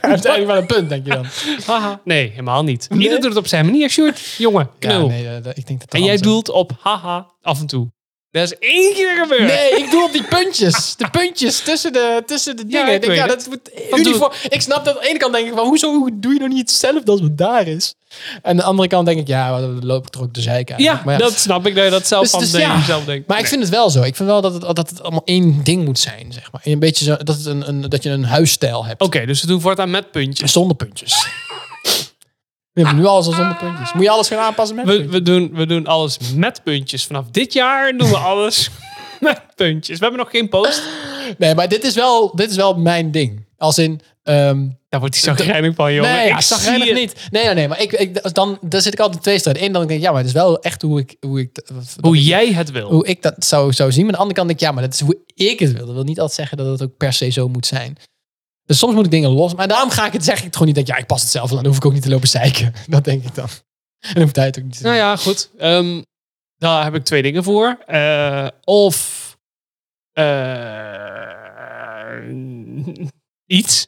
S2: Hij heeft eigenlijk wel een punt, denk je dan.
S1: haha. Nee, helemaal niet.
S2: Nee?
S1: Ieder doet het op zijn manier, Sjoerd. Jongen, knul.
S2: Ja, nee, eh, dat- ik denk dat
S1: En jij
S2: doet.
S1: doelt op haha af en toe. Dat is één keer gebeurd.
S2: Nee, ik doe op die puntjes. De puntjes tussen de, tussen de dingen.
S1: ik
S2: ik, denk,
S1: weet
S2: ja,
S1: het.
S2: dat moet uniform. Ik snap dat aan de ene kant denk ik van, hoezo hoe doe je nog niet hetzelfde als wat daar is? En aan de andere kant denk ik, ja, dan loop ik er ook de zeik aan.
S1: Ja,
S2: maar
S1: dat snap ik dat je dat zelf
S2: Dus-
S1: van
S2: dus
S1: tegen
S2: ja.
S1: jezelf denkt.
S2: Maar ik vind het wel zo. Ik vind wel dat het, dat het allemaal één ding moet zijn, zeg maar. En een beetje zo, dat, het een, een, dat je een huisstijl hebt.
S1: Oké, dus we doen voortaan met puntjes.
S2: Zonder puntjes. We hebben nu alles al zonder puntjes. Moet je alles gaan aanpassen met
S1: We,
S2: puntjes?
S1: we, doen, we doen alles met puntjes. Vanaf dit jaar doen we alles met puntjes. We hebben nog geen post.
S2: Nee, maar dit is wel, dit is wel mijn ding. Als in, ehm,
S1: Ja, Daar wordt hij zo grijnig van, jongen.
S2: nee, ja,
S1: Ik
S2: zag
S1: zie het.
S2: niet. Nee, nee, nee. Maar ik, ik, dan, daar zit ik altijd in twee strijden. Eén, dan denk ik, ja, maar het is wel echt hoe ik, hoe ik,
S1: Hoe jij het wil.
S2: hoe ik dat zou, zou zien. Maar aan de andere kant denk ik, ja, maar dat is hoe ik het wil. Dat wil niet altijd zeggen dat het ook per se zo moet zijn. Dus soms moet ik dingen los. Maar daarom ga ik het, zeg ik het gewoon niet. Denk, ik, ja, ik pas het zelf wel aan. Dan hoef ik ook niet te lopen zeiken. Dat denk ik dan. En dan hoeft hij het ook niet te doen.
S1: Nou ja, goed. Ehm, daar heb ik twee dingen voor. Eh, of eh, iets.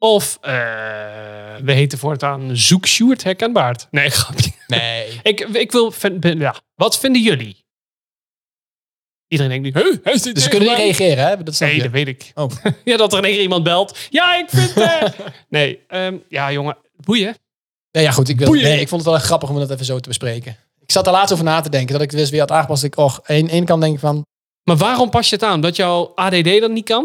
S1: Of eh, we heten voortaan Zoek Sjoerd Herkenbaard. Nee, grapje.
S2: Nee.
S1: Ik, ik wil... vind- ben- ja. Wat vinden jullie? Iedereen denkt nu... Huh, hij zit
S2: Dus ze kunnen niet
S1: tegen mij.
S2: reageren, hè? Dat snap
S1: Nee, dat
S2: je.
S1: weet ik.
S2: Oh.
S1: Ja, dat er in één keer iemand belt. Ja, ik vind... eh. Nee, ehm, ja jongen. Boeien.
S2: Nee, ja, goed. Ik, wil,
S1: Boeien.
S2: nee, ik vond het wel echt grappig om dat even zo te bespreken. Ik zat daar laatst over na te denken. Dat ik het dus weer had aangepast. Ik, och, aan de ene kant denk ik van,
S1: Maar waarom pas je het aan? Dat jouw ADD dat niet kan?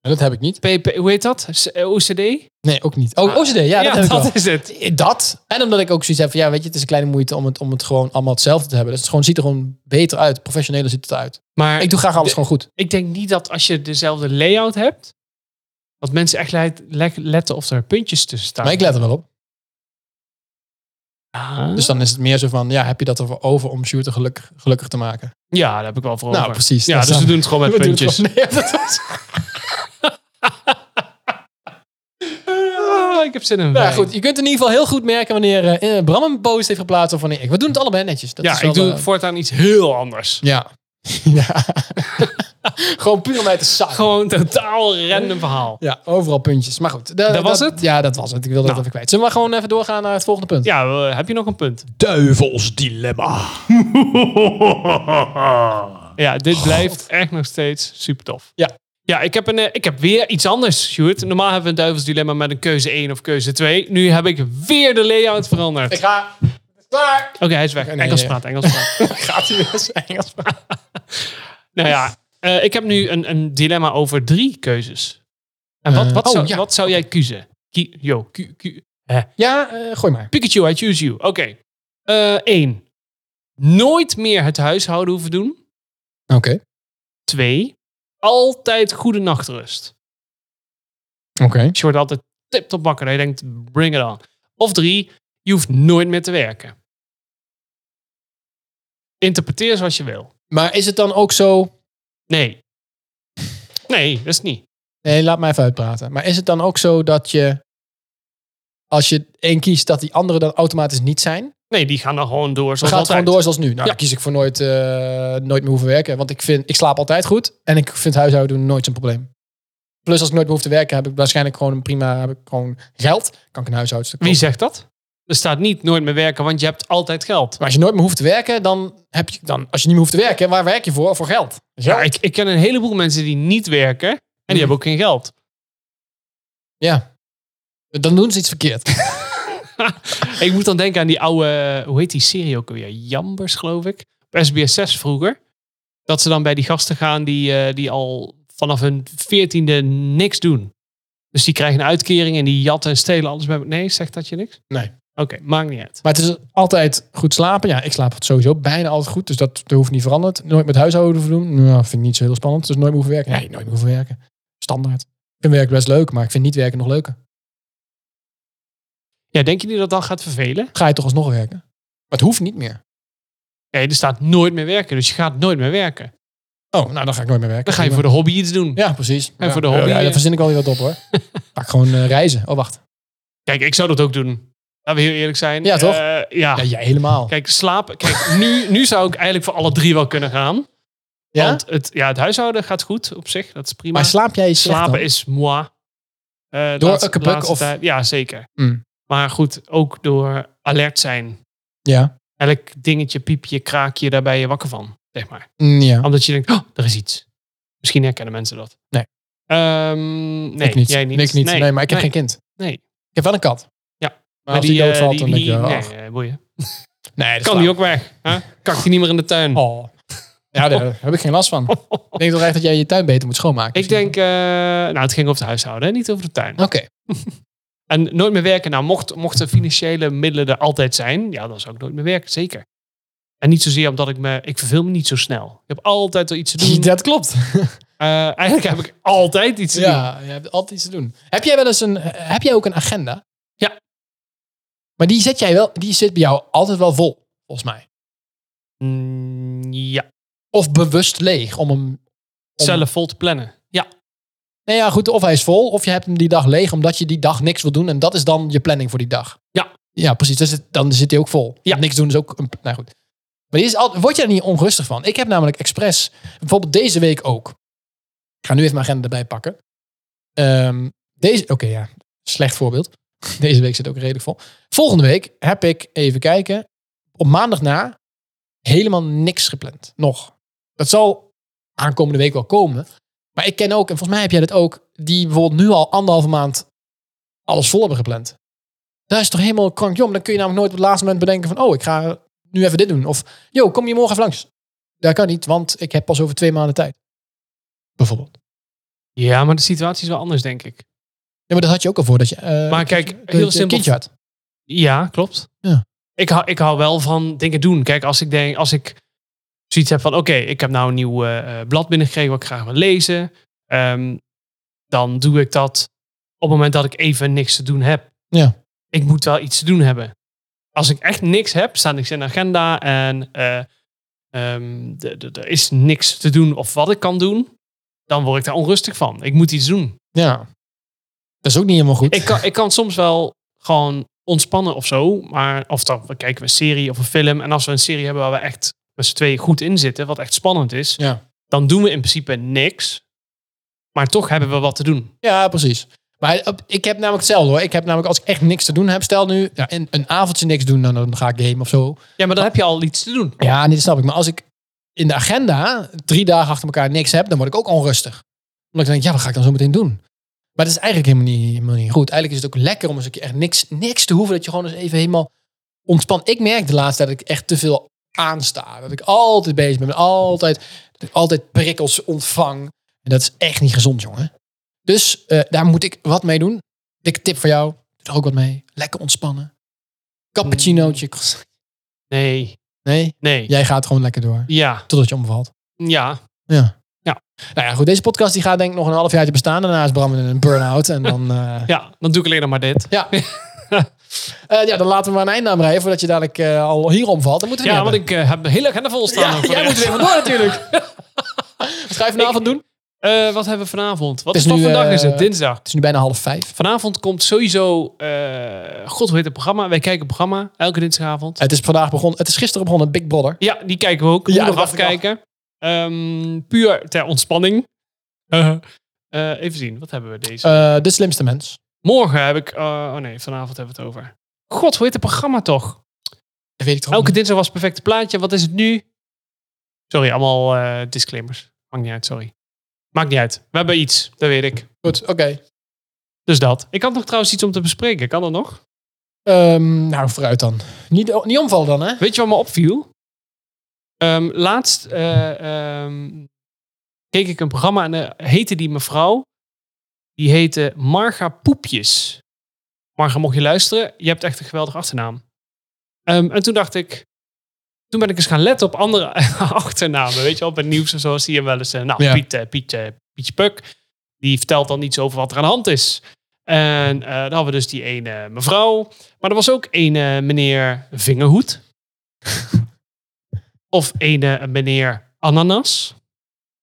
S2: "Nou, dat heb ik niet.
S1: PP, hoe heet dat? S- eh, OCD?
S2: Nee, ook niet.
S1: Ah,
S2: Oh, OCD, ja, dat heb ik wel.
S1: is het.
S2: Dat. En omdat ik ook zoiets heb van, ja, weet je, het is een kleine moeite om het, om het gewoon allemaal hetzelfde te hebben. Dus het gewoon, ziet er gewoon beter uit. Professioneler ziet het eruit.
S1: Maar
S2: Ik
S1: ik,
S2: doe graag alles gewoon goed.
S1: denk niet dat als je dezelfde layout hebt, dat mensen echt le- le- letten of er puntjes tussen staan.
S2: Maar ik let er wel op.
S1: Mhm. Ah.
S2: Dus dan is het meer zo van, ja, heb je dat ervoor over om shooter gelukkig, gelukkig te maken?
S1: ja, daar heb ik wel voor
S2: Nou,
S1: over.
S2: precies.
S1: Ja,
S2: Dat
S1: dus
S2: is
S1: we
S2: dan-
S1: doen het gewoon met
S2: We doen het
S1: puntjes.
S2: gewoon- Nee, dat was-
S1: Ah, ik heb zin in
S2: Nou ja,
S1: wijn.
S2: goed, je kunt in ieder geval heel goed merken wanneer eh, eh, Bram een post heeft geplaatst of wanneer ik. We doen het allebei netjes. Dat is
S1: ja,
S2: wel,
S1: ik doe
S2: eh,
S1: voortaan iets heel anders.
S2: Ja. ja. gewoon puur om mij te zakken.
S1: Gewoon totaal random verhaal.
S2: Ja, overal puntjes. Maar goed.
S1: Dat was het?
S2: Ja, dat was het. Ik wilde
S1: Nou.
S2: dat even kwijt. Zullen we maar gewoon even doorgaan naar het volgende punt?
S1: Ja, eh, heb je nog een punt?
S5: Duivels dilemma.
S1: Ja, dit blijft echt nog steeds super tof.
S2: Oh. Ja.
S1: Ja, ik heb, een, eh, ik heb weer iets anders, Sjoerd. Normaal hebben we een duivels dilemma met een keuze 1 of keuze 2. Nu heb ik weer de layout veranderd.
S2: Ik ga... Het is klaar!
S1: Oké, hij is weg.
S2: nee,
S1: Engels
S2: nee.
S1: praat, Engels praat.
S2: Gaat hij weer zijn Engels praten?
S1: nou ja, eh, ik heb nu een, een dilemma over drie keuzes. En wat,
S2: Eh,
S1: wat,
S2: oh,
S1: zou,
S2: ja.
S1: wat zou jij kiezen? Ki yo, ku- ku-
S2: Ja, eh, gooi maar.
S1: Pikachu, I choose you. Oké. Eh Eén. Nooit meer het huishouden hoeven doen.
S2: Oké.
S1: Twee. Altijd goede nachtrust.
S2: Oké.
S1: Dus je wordt altijd tip top wakker. En je denkt, bring it on. Of drie, je hoeft nooit meer te werken. Interpreteer zoals je wil.
S2: Maar is het dan ook zo...
S1: Nee. Nee, dat is niet.
S2: Nee, laat mij even uitpraten. Maar is het dan ook zo dat je... Als je één kiest, dat die anderen dan automatisch niet zijn?
S1: Nee, die gaan dan gewoon door
S2: Dan
S1: zoals
S2: gaat het gewoon
S1: altijd.
S2: door zoals nu. Nou,
S1: Ja.
S2: dan kies ik voor nooit, eh, nooit meer hoeven werken. Want ik, vind, ik slaap altijd goed. En ik vind huishouden doen nooit zo'n probleem. Plus als ik nooit meer hoef te werken, heb ik waarschijnlijk gewoon een prima... Heb ik gewoon geld. Kan ik een huishoudster
S1: Wie
S2: kopen.
S1: zegt dat? Er staat niet nooit meer werken, want je hebt altijd geld.
S2: Maar als je nooit meer hoeft te werken, dan heb je... Dan, als je niet meer hoeft te werken, waar werk je voor? Voor geld.
S1: Ja, ik, ik ken een heleboel mensen die niet werken en
S2: Hmm.
S1: die hebben ook geen geld.
S2: Ja. Dan doen ze iets verkeerd.
S1: Ik moet dan denken aan die oude, hoe heet die serie ook alweer? Jambers, geloof ik. Op SBS 6 vroeger. Dat ze dan bij die gasten gaan die, eh, die al vanaf hun veertiende niks doen. Dus die krijgen een uitkering en die jatten en stelen alles bij... Nee, zegt dat je niks?
S2: Nee.
S1: Oké, maakt niet uit.
S2: Maar het is altijd goed slapen. Ja, ik slaap sowieso bijna altijd goed. Dus dat, dat hoeft niet veranderd. Nooit met huishouden te doen. Nou, vind ik niet zo heel spannend. Dus nooit meer hoeven werken. Nee, nooit meer hoeven werken. Standaard. Ik vind werk best leuk, maar ik vind niet werken nog leuker.
S1: Ja, denk je niet dat dat gaat vervelen?
S2: Ga je toch alsnog werken? Maar het hoeft niet meer.
S1: Nee, er staat nooit meer werken, dus je gaat nooit meer werken.
S2: Oh, nou dan ga ik nooit meer werken.
S1: Dan ga je voor de hobby iets doen.
S2: Ja, precies.
S1: En
S2: Ja.
S1: voor de hobby,
S2: Ja,
S1: eh.
S2: daar verzin ik wel weer wat op hoor. Ga ik gewoon eh, reizen. Oh, wacht.
S1: Kijk, ik zou dat ook doen. Laten we heel eerlijk zijn.
S2: Ja, toch?
S1: Eh, ja.
S2: Ja, jij helemaal.
S1: Kijk, slapen. Kijk, nu, nu zou ik eigenlijk voor alle drie wel kunnen gaan.
S2: Ja?
S1: Want het, ja, het huishouden gaat goed op zich. Dat is prima.
S2: maar slaap jij slecht
S1: Slapen
S2: dan?
S1: is moi. Eh,
S2: Door
S1: laatste-
S2: ukkepuk
S1: laatste
S2: of-
S1: tijd- ja, zeker.
S2: Mm.
S1: Maar goed, ook door alert zijn.
S2: Ja.
S1: Elk dingetje, piepje, kraakje, daar ben je wakker van. Zeg maar.
S2: Mm, ja.
S1: Omdat je denkt, oh, er is iets. Misschien herkennen mensen dat.
S2: Nee.
S1: Ehm, nee,
S2: ik niet.
S1: jij niet.
S2: Ik niet. Nee, maar ik heb geen kind.
S1: Nee.
S2: Ik heb wel een kat.
S1: Ja.
S2: Maar als die, doodvalt,
S1: eh,
S2: dan denk "Ah, je...
S1: die-
S2: ach.
S1: Nee, eh, boeien.
S2: Nee, dat
S1: Kan die ook weg? Hè? Kakt die niet meer in de tuin?
S2: Oh. Ja, daar heb ik geen last van. Ik denk toch echt dat jij je tuin beter moet schoonmaken.
S1: Ik denk, eh, nou, het ging over het huishouden, hè, niet over de tuin.
S2: Oké.
S1: En nooit meer werken. Nou, mocht, mochten financiële middelen er altijd zijn, ja, dan zou ik nooit meer werken, zeker. En niet zozeer omdat ik me, ik verveel me niet zo snel. Ik heb altijd wel iets te doen.
S2: Dat klopt.
S1: Eh, eigenlijk heb ik altijd iets te doen.
S2: Ja, je hebt altijd iets te doen. Heb jij wel eens een, heb jij ook een agenda?
S1: Ja.
S2: Maar die zet jij wel, die zit bij jou altijd wel vol, volgens mij.
S1: Mm, ja.
S2: Of bewust leeg om hem. Om-
S1: Zelf vol te plannen. Ja.
S2: Nee, ja, goed. Of hij is vol, of je hebt hem die dag leeg omdat je die dag niks wil doen. En dat is dan je planning voor die dag.
S1: Ja.
S2: Ja, precies. Dus het- dan zit hij ook vol.
S1: Ja.
S2: Niks doen is ook. Een, nou goed. Maar die is al, word je er niet onrustig van? Ik heb namelijk expres, bijvoorbeeld deze week ook. Ik ga nu even mijn agenda erbij pakken. Ehm, deze, oké ja, slecht voorbeeld. Deze week zit ook redelijk vol. Volgende week heb ik, even kijken, op maandag na helemaal niks gepland. Nog. Dat zal aankomende week wel komen. Maar ik ken ook, en volgens mij heb jij dat ook, die bijvoorbeeld nu al anderhalve maand alles vol hebben gepland. Dat is toch helemaal krankjom. Dan kun je namelijk nooit op het laatste moment bedenken van, oh, ik ga nu even dit doen. Of, yo, kom je morgen even langs? Dat kan niet, want ik heb pas over twee maanden tijd. Bijvoorbeeld.
S1: Ja, maar de situatie is wel anders, denk ik.
S2: Ja, maar dat had je ook al voor dat je. eh,
S1: Maar kijk,
S2: dat
S1: heel
S2: je een
S1: simpel.
S2: kindje had.
S1: Ja, klopt.
S2: Ja.
S1: Ik, hou, ik hou wel van dingen doen. Kijk, als ik denk, als ik zoiets heb van oké, ik heb nou een nieuw eh, eh, blad binnengekregen wat ik graag wil lezen. ehm, dan doe ik dat op het moment dat ik even niks te doen heb.
S2: Ja.
S1: Ik moet wel iets te doen hebben. Als ik echt niks heb, staat niks in de agenda en eh, ehm, d- d- er is niks te doen of wat ik kan doen, dan word ik daar onrustig van. Ik moet iets doen.
S2: Ja. Dat is ook niet helemaal goed.
S1: Ik kan, ik kan soms wel gewoon ontspannen of zo. Maar of dan we kijken we een serie of een film. En als we een serie hebben waar we echt met z'n tweeën goed in zitten, wat echt spannend is,
S2: Ja.
S1: dan doen we in principe niks. Maar toch hebben we wat te doen.
S2: Ja, precies. Maar op- ik heb namelijk hetzelfde hoor. Ik heb namelijk als ik echt niks te doen heb, stel nu ja, een, een avondje niks doen, dan, dan ga ik game of zo.
S1: Ja, maar dan heb je al iets te doen.
S2: Ja, nee, dat snap ik. Maar als ik in de agenda drie dagen achter elkaar niks heb, dan word ik ook onrustig. Omdat ik denk, ja, wat ga ik dan zo meteen doen? Maar dat is eigenlijk helemaal niet, helemaal niet goed. Eigenlijk is het ook lekker om eens een keer echt niks, niks te hoeven. Dat je gewoon eens even helemaal ontspant. Ik merk de laatste tijd dat ik echt te veel aansta. Dat ik altijd bezig ben. met Altijd, dat ik altijd prikkels ontvang. En dat is echt niet gezond, jongen. Dus eh, daar moet ik wat mee doen. Dikke tip voor jou. Doe er ook wat mee. Lekker ontspannen. Cappuccinootje.
S1: Nee,
S2: Nee,
S1: nee. Ja,
S2: jij gaat gewoon lekker door.
S1: ja.
S2: Totdat je omvalt. Ja.
S1: Ja.
S2: Nou ja, goed. Deze podcast die gaat denk ik nog een half jaartje bestaan. Daarna is Bram in een burn-out. En dan, eh,
S1: Ja, dan doe ik alleen nog maar dit.
S2: ja. Eh, ja, dan laten we maar een einde aan breien voordat je dadelijk eh, al hier omvalt. Dan moeten we
S1: Ja,
S2: niet
S1: want
S2: hebben.
S1: ik eh, heb de hele agenda vol staan. nog voor
S2: Jij
S1: de
S2: moet
S1: rest.
S2: weer vandoor natuurlijk. Wat ga je vanavond
S1: Ik-
S2: doen? Het
S1: Eh, wat hebben we vanavond? Wat
S2: Het
S1: is,
S2: is
S1: toch
S2: nu,
S1: vandaag? is
S2: eh,
S1: het dinsdag.
S2: is nu bijna half vijf.
S1: Vanavond komt sowieso. eh, God, hoe heet het programma? Wij kijken het programma elke dinsdagavond.
S2: Het is vandaag begonnen. Het is gisteren begonnen. Big Brother.
S1: Ja, die kijken we ook.
S2: Ja,
S1: Moet nog
S2: dat dacht ik
S1: afkijken. Ehm, puur ter ontspanning. Eh, eh, even zien, wat hebben we deze?
S2: Eh, de slimste mens.
S1: Morgen heb ik... eh, oh nee, vanavond hebben we het over. God, hoe heet het programma toch?
S2: Dat weet ik toch
S1: Elke
S2: ook
S1: dinsdag was het perfecte plaatje. Wat is het nu? Sorry, allemaal eh, disclaimers. Maakt niet uit, sorry. Maakt niet uit. We hebben iets, dat weet ik.
S2: niet. Goed, oké.
S1: Dus dat. Ik had nog trouwens iets om te bespreken. Kan dat nog?
S2: Ehm, nou, vooruit dan. Niet, oh, niet omvallen dan, hè?
S1: Weet je wat me opviel? Ehm, laatst eh, ehm, keek ik een programma en eh, heette die mevrouw. Die heette Marga Poepjes. Marga, mocht je luisteren, je hebt echt een geweldige achternaam. Ehm, en toen dacht ik, toen ben ik eens gaan letten op andere achternamen. Weet je wel, bij het nieuws en zo zie je wel eens, eh, nou,
S2: Ja.
S1: Piet, eh, Piet, eh, Pietje Puk. Die vertelt dan iets over wat er aan de hand is. En eh, dan hadden we dus die ene mevrouw. Maar er was ook een eh, meneer Vingerhoed. of een eh, meneer Ananas.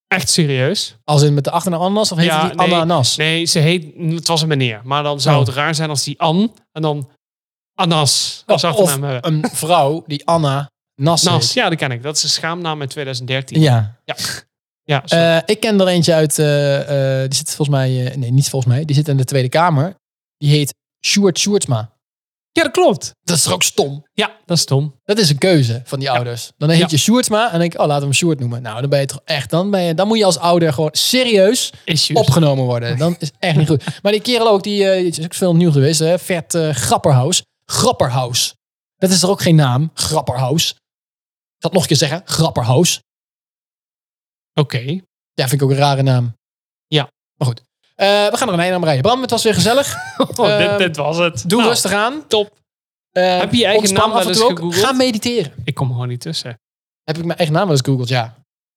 S1: Echt serieus.
S2: Als in met de achternaam Ananas of heet
S1: Ja,
S2: die
S1: nee.
S2: Ananas?
S1: Nee, ze heet, het was een meneer. Maar dan zou
S2: Oh.
S1: het raar zijn als die An en dan Oh, Anas als
S2: Of-
S1: achternaam hebben.
S2: of een vrouw die Anna Nas,
S1: Nas,
S2: heet.
S1: ja, dat ken ik. Dat is een schaamnaam uit 2013. Ja,
S2: ja.
S1: sorry.
S2: Eh, ik ken er eentje uit, eh, eh, die zit volgens mij, eh, nee niet volgens mij, die zit in de Tweede Kamer. Die heet Sjoerd Sjoerdsma.
S1: ja dat klopt.
S2: Dat is toch ook stom?
S1: Ja, dat is stom.
S2: Dat is een keuze van die ouders. Dan heet
S1: Ja.
S2: je Sjoerdsma en dan denk ik, oh laten we hem Sjoerd noemen. Nou, dan ben je toch echt, dan, ben je, dan moet je als ouder gewoon serieus
S1: Issues.
S2: opgenomen worden. Dan is echt niet goed. Maar die kerel ook, die eh, is ook veel nieuw geweest, hè? Vert eh, Grapperhaus. Grapperhaus. Dat is er ook geen naam, Grapperhaus. Ik zal het nog een keer zeggen, Grapperhaus.
S1: Oké.
S2: Ja, vind ik ook een rare naam.
S1: Ja.
S2: Maar goed. Eh, we gaan er een einde aan breien. Bram, het was weer gezellig.
S1: Oh,
S2: Ehm,
S1: dit, dit was het.
S2: Doe
S1: Nou,
S2: rustig aan.
S1: Top.
S2: Eh,
S1: Heb je je eigen
S2: ontspan
S1: naam wel
S2: af en
S1: eens
S2: toe ook.
S1: gegoogeld?
S2: Ga mediteren.
S1: Ik kom er gewoon niet tussen.
S2: Heb ik mijn eigen naam wel eens gegoogeld? Ja.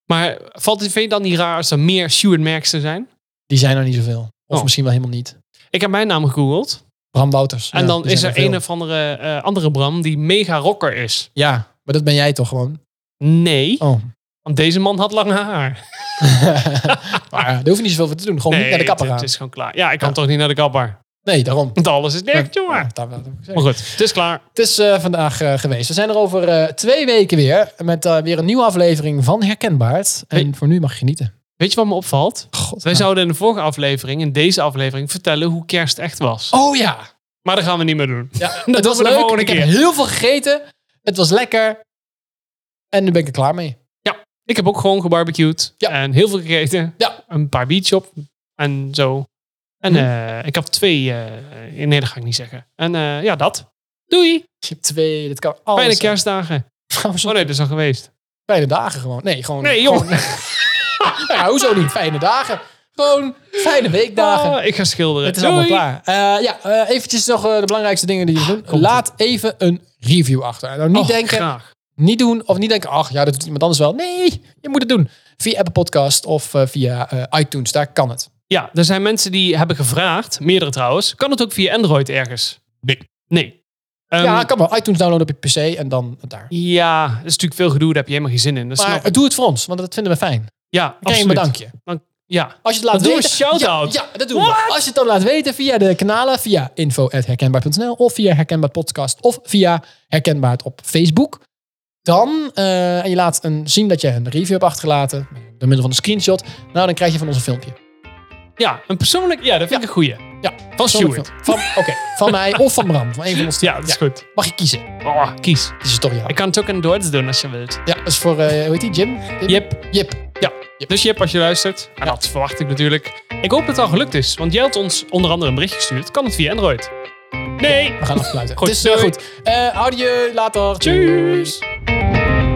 S1: Maar valt het, vind je dan niet raar als er meer Stuart Merksten zijn?
S2: Die zijn er niet zoveel. Of
S1: Oh.
S2: misschien wel helemaal niet.
S1: Ik heb mijn naam gegoogeld.
S2: Bram Wouters.
S1: En
S2: Ja,
S1: dan
S2: die
S1: is
S2: zijn
S1: er een
S2: veel.
S1: of andere, eh, andere Bram die mega rocker is.
S2: Ja, maar dat ben jij toch gewoon?
S1: Nee,
S2: Oh.
S1: want deze man had lang haar.
S2: maar daar hoef je niet zoveel voor te doen. Gewoon
S1: Nee,
S2: niet naar de kapper
S1: het,
S2: gaan.
S1: het is gewoon klaar. Ja, ik kan toch niet naar de kapper.
S2: Nee, daarom.
S1: Want alles is dicht,
S2: Ja,
S1: jongen.
S2: dat wou ik zeggen.
S1: Maar goed, het is klaar.
S2: Het is eh, vandaag eh, geweest. We zijn er over eh, twee weken weer. Met eh, weer een nieuwe aflevering van Herkenbaard. En
S1: Hey.
S2: voor nu mag je genieten.
S1: Weet je wat me opvalt?
S2: God, nou.
S1: Wij zouden in de vorige aflevering, in deze aflevering, vertellen hoe kerst echt was.
S2: Oh ja.
S1: Maar dat gaan we niet meer doen.
S2: ja
S1: doen
S2: het was
S1: we de
S2: leuk.
S1: volgende
S2: Ik heb
S1: keer.
S2: heel veel gegeten. Het was lekker. En nu ben ik er klaar mee.
S1: Ik heb ook gewoon gebarbecued.
S2: Ja.
S1: En heel veel gegeten.
S2: Ja.
S1: Een paar biertjes op. En zo. En
S2: Hm.
S1: eh, ik heb twee... eh, nee, dat ga ik niet zeggen. En eh, ja, dat. Doei.
S2: Je hebt twee, dat kan alles.
S1: Fijne
S2: zijn.
S1: kerstdagen.
S2: Trouwens,
S1: Oh nee, dat is al geweest.
S2: Fijne dagen gewoon. Nee, gewoon.
S1: Nee,
S2: gewoon-
S1: jongen.
S2: Nou ja, hoezo niet? Fijne dagen. Gewoon fijne weekdagen.
S1: Ah, ik ga schilderen.
S2: Het is allemaal
S1: Doei. Ah,
S2: klaar. Eh, ja, eh, eventjes nog eh, de belangrijkste dingen die je doen.
S1: komt
S2: Laat even een review achter. Nou, niet
S1: Oh,
S2: denken,
S1: graag.
S2: niet doen of niet denken, ach ja, dat doet iemand anders wel. Nee, je moet het doen. Via Apple Podcast of eh, via eh, iTunes, daar kan het.
S1: Ja, er zijn mensen die hebben gevraagd. Meerdere trouwens. Kan het ook via Android ergens?
S5: Nee.
S1: Nee. Ehm,
S2: ja, kan wel. iTunes downloaden op je PC en dan daar.
S1: Ja, dat is natuurlijk veel gedoe. Daar heb je helemaal geen zin in. Dat snap
S2: Maar
S1: ik.
S2: doe het voor ons, want dat vinden we fijn. Dan
S1: Ja,
S2: krijg je een
S1: absoluut.
S2: bedankje.
S1: Ja.
S2: Als je het laat
S1: Dan doen we
S2: weten,
S1: een shout-out.
S2: Ja, ja, dat doen we. Als je het dan laat weten via de kanalen, via info.herkenbaar.nl of via Herkenbaar Podcast of via Herkenbaar op Facebook. Dan, eh, en je laat een, zien dat je een review hebt achtergelaten, door middel van een screenshot. Nou, dan krijg je van ons een filmpje.
S1: Ja, een persoonlijk... Ja, dat vind ik een goeie.
S2: Ja,
S1: Van
S2: Zo'n
S1: Stuart.
S2: film. Van, oké, van mij of van Bram. Van een van ons. twee.
S1: Ja, dat is goed.
S2: Mag je kiezen.
S1: Oh, kies.
S2: Dit is toch jou.
S1: Ik kan het ook in het Duits doen als je wilt.
S2: Ja, dat is voor, eh, hoe heet die, Jim? Jim?
S1: Jip.
S2: Jip.
S1: Ja. Dus Jip, als je luistert. En dat verwacht ik natuurlijk. Ik hoop dat het al gelukt is. Want jij had ons onder andere een bericht gestuurd. Kan het via Android? Nee.
S2: We gaan afsluiten.
S1: Goed,
S2: het is eh,
S1: doei.
S2: goed. Eh adieu, later.
S1: Tjus.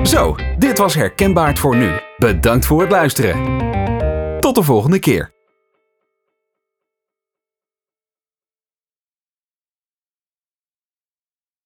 S3: Zo, dit was Herkenbaard voor nu. Bedankt voor het luisteren. Tot de volgende keer.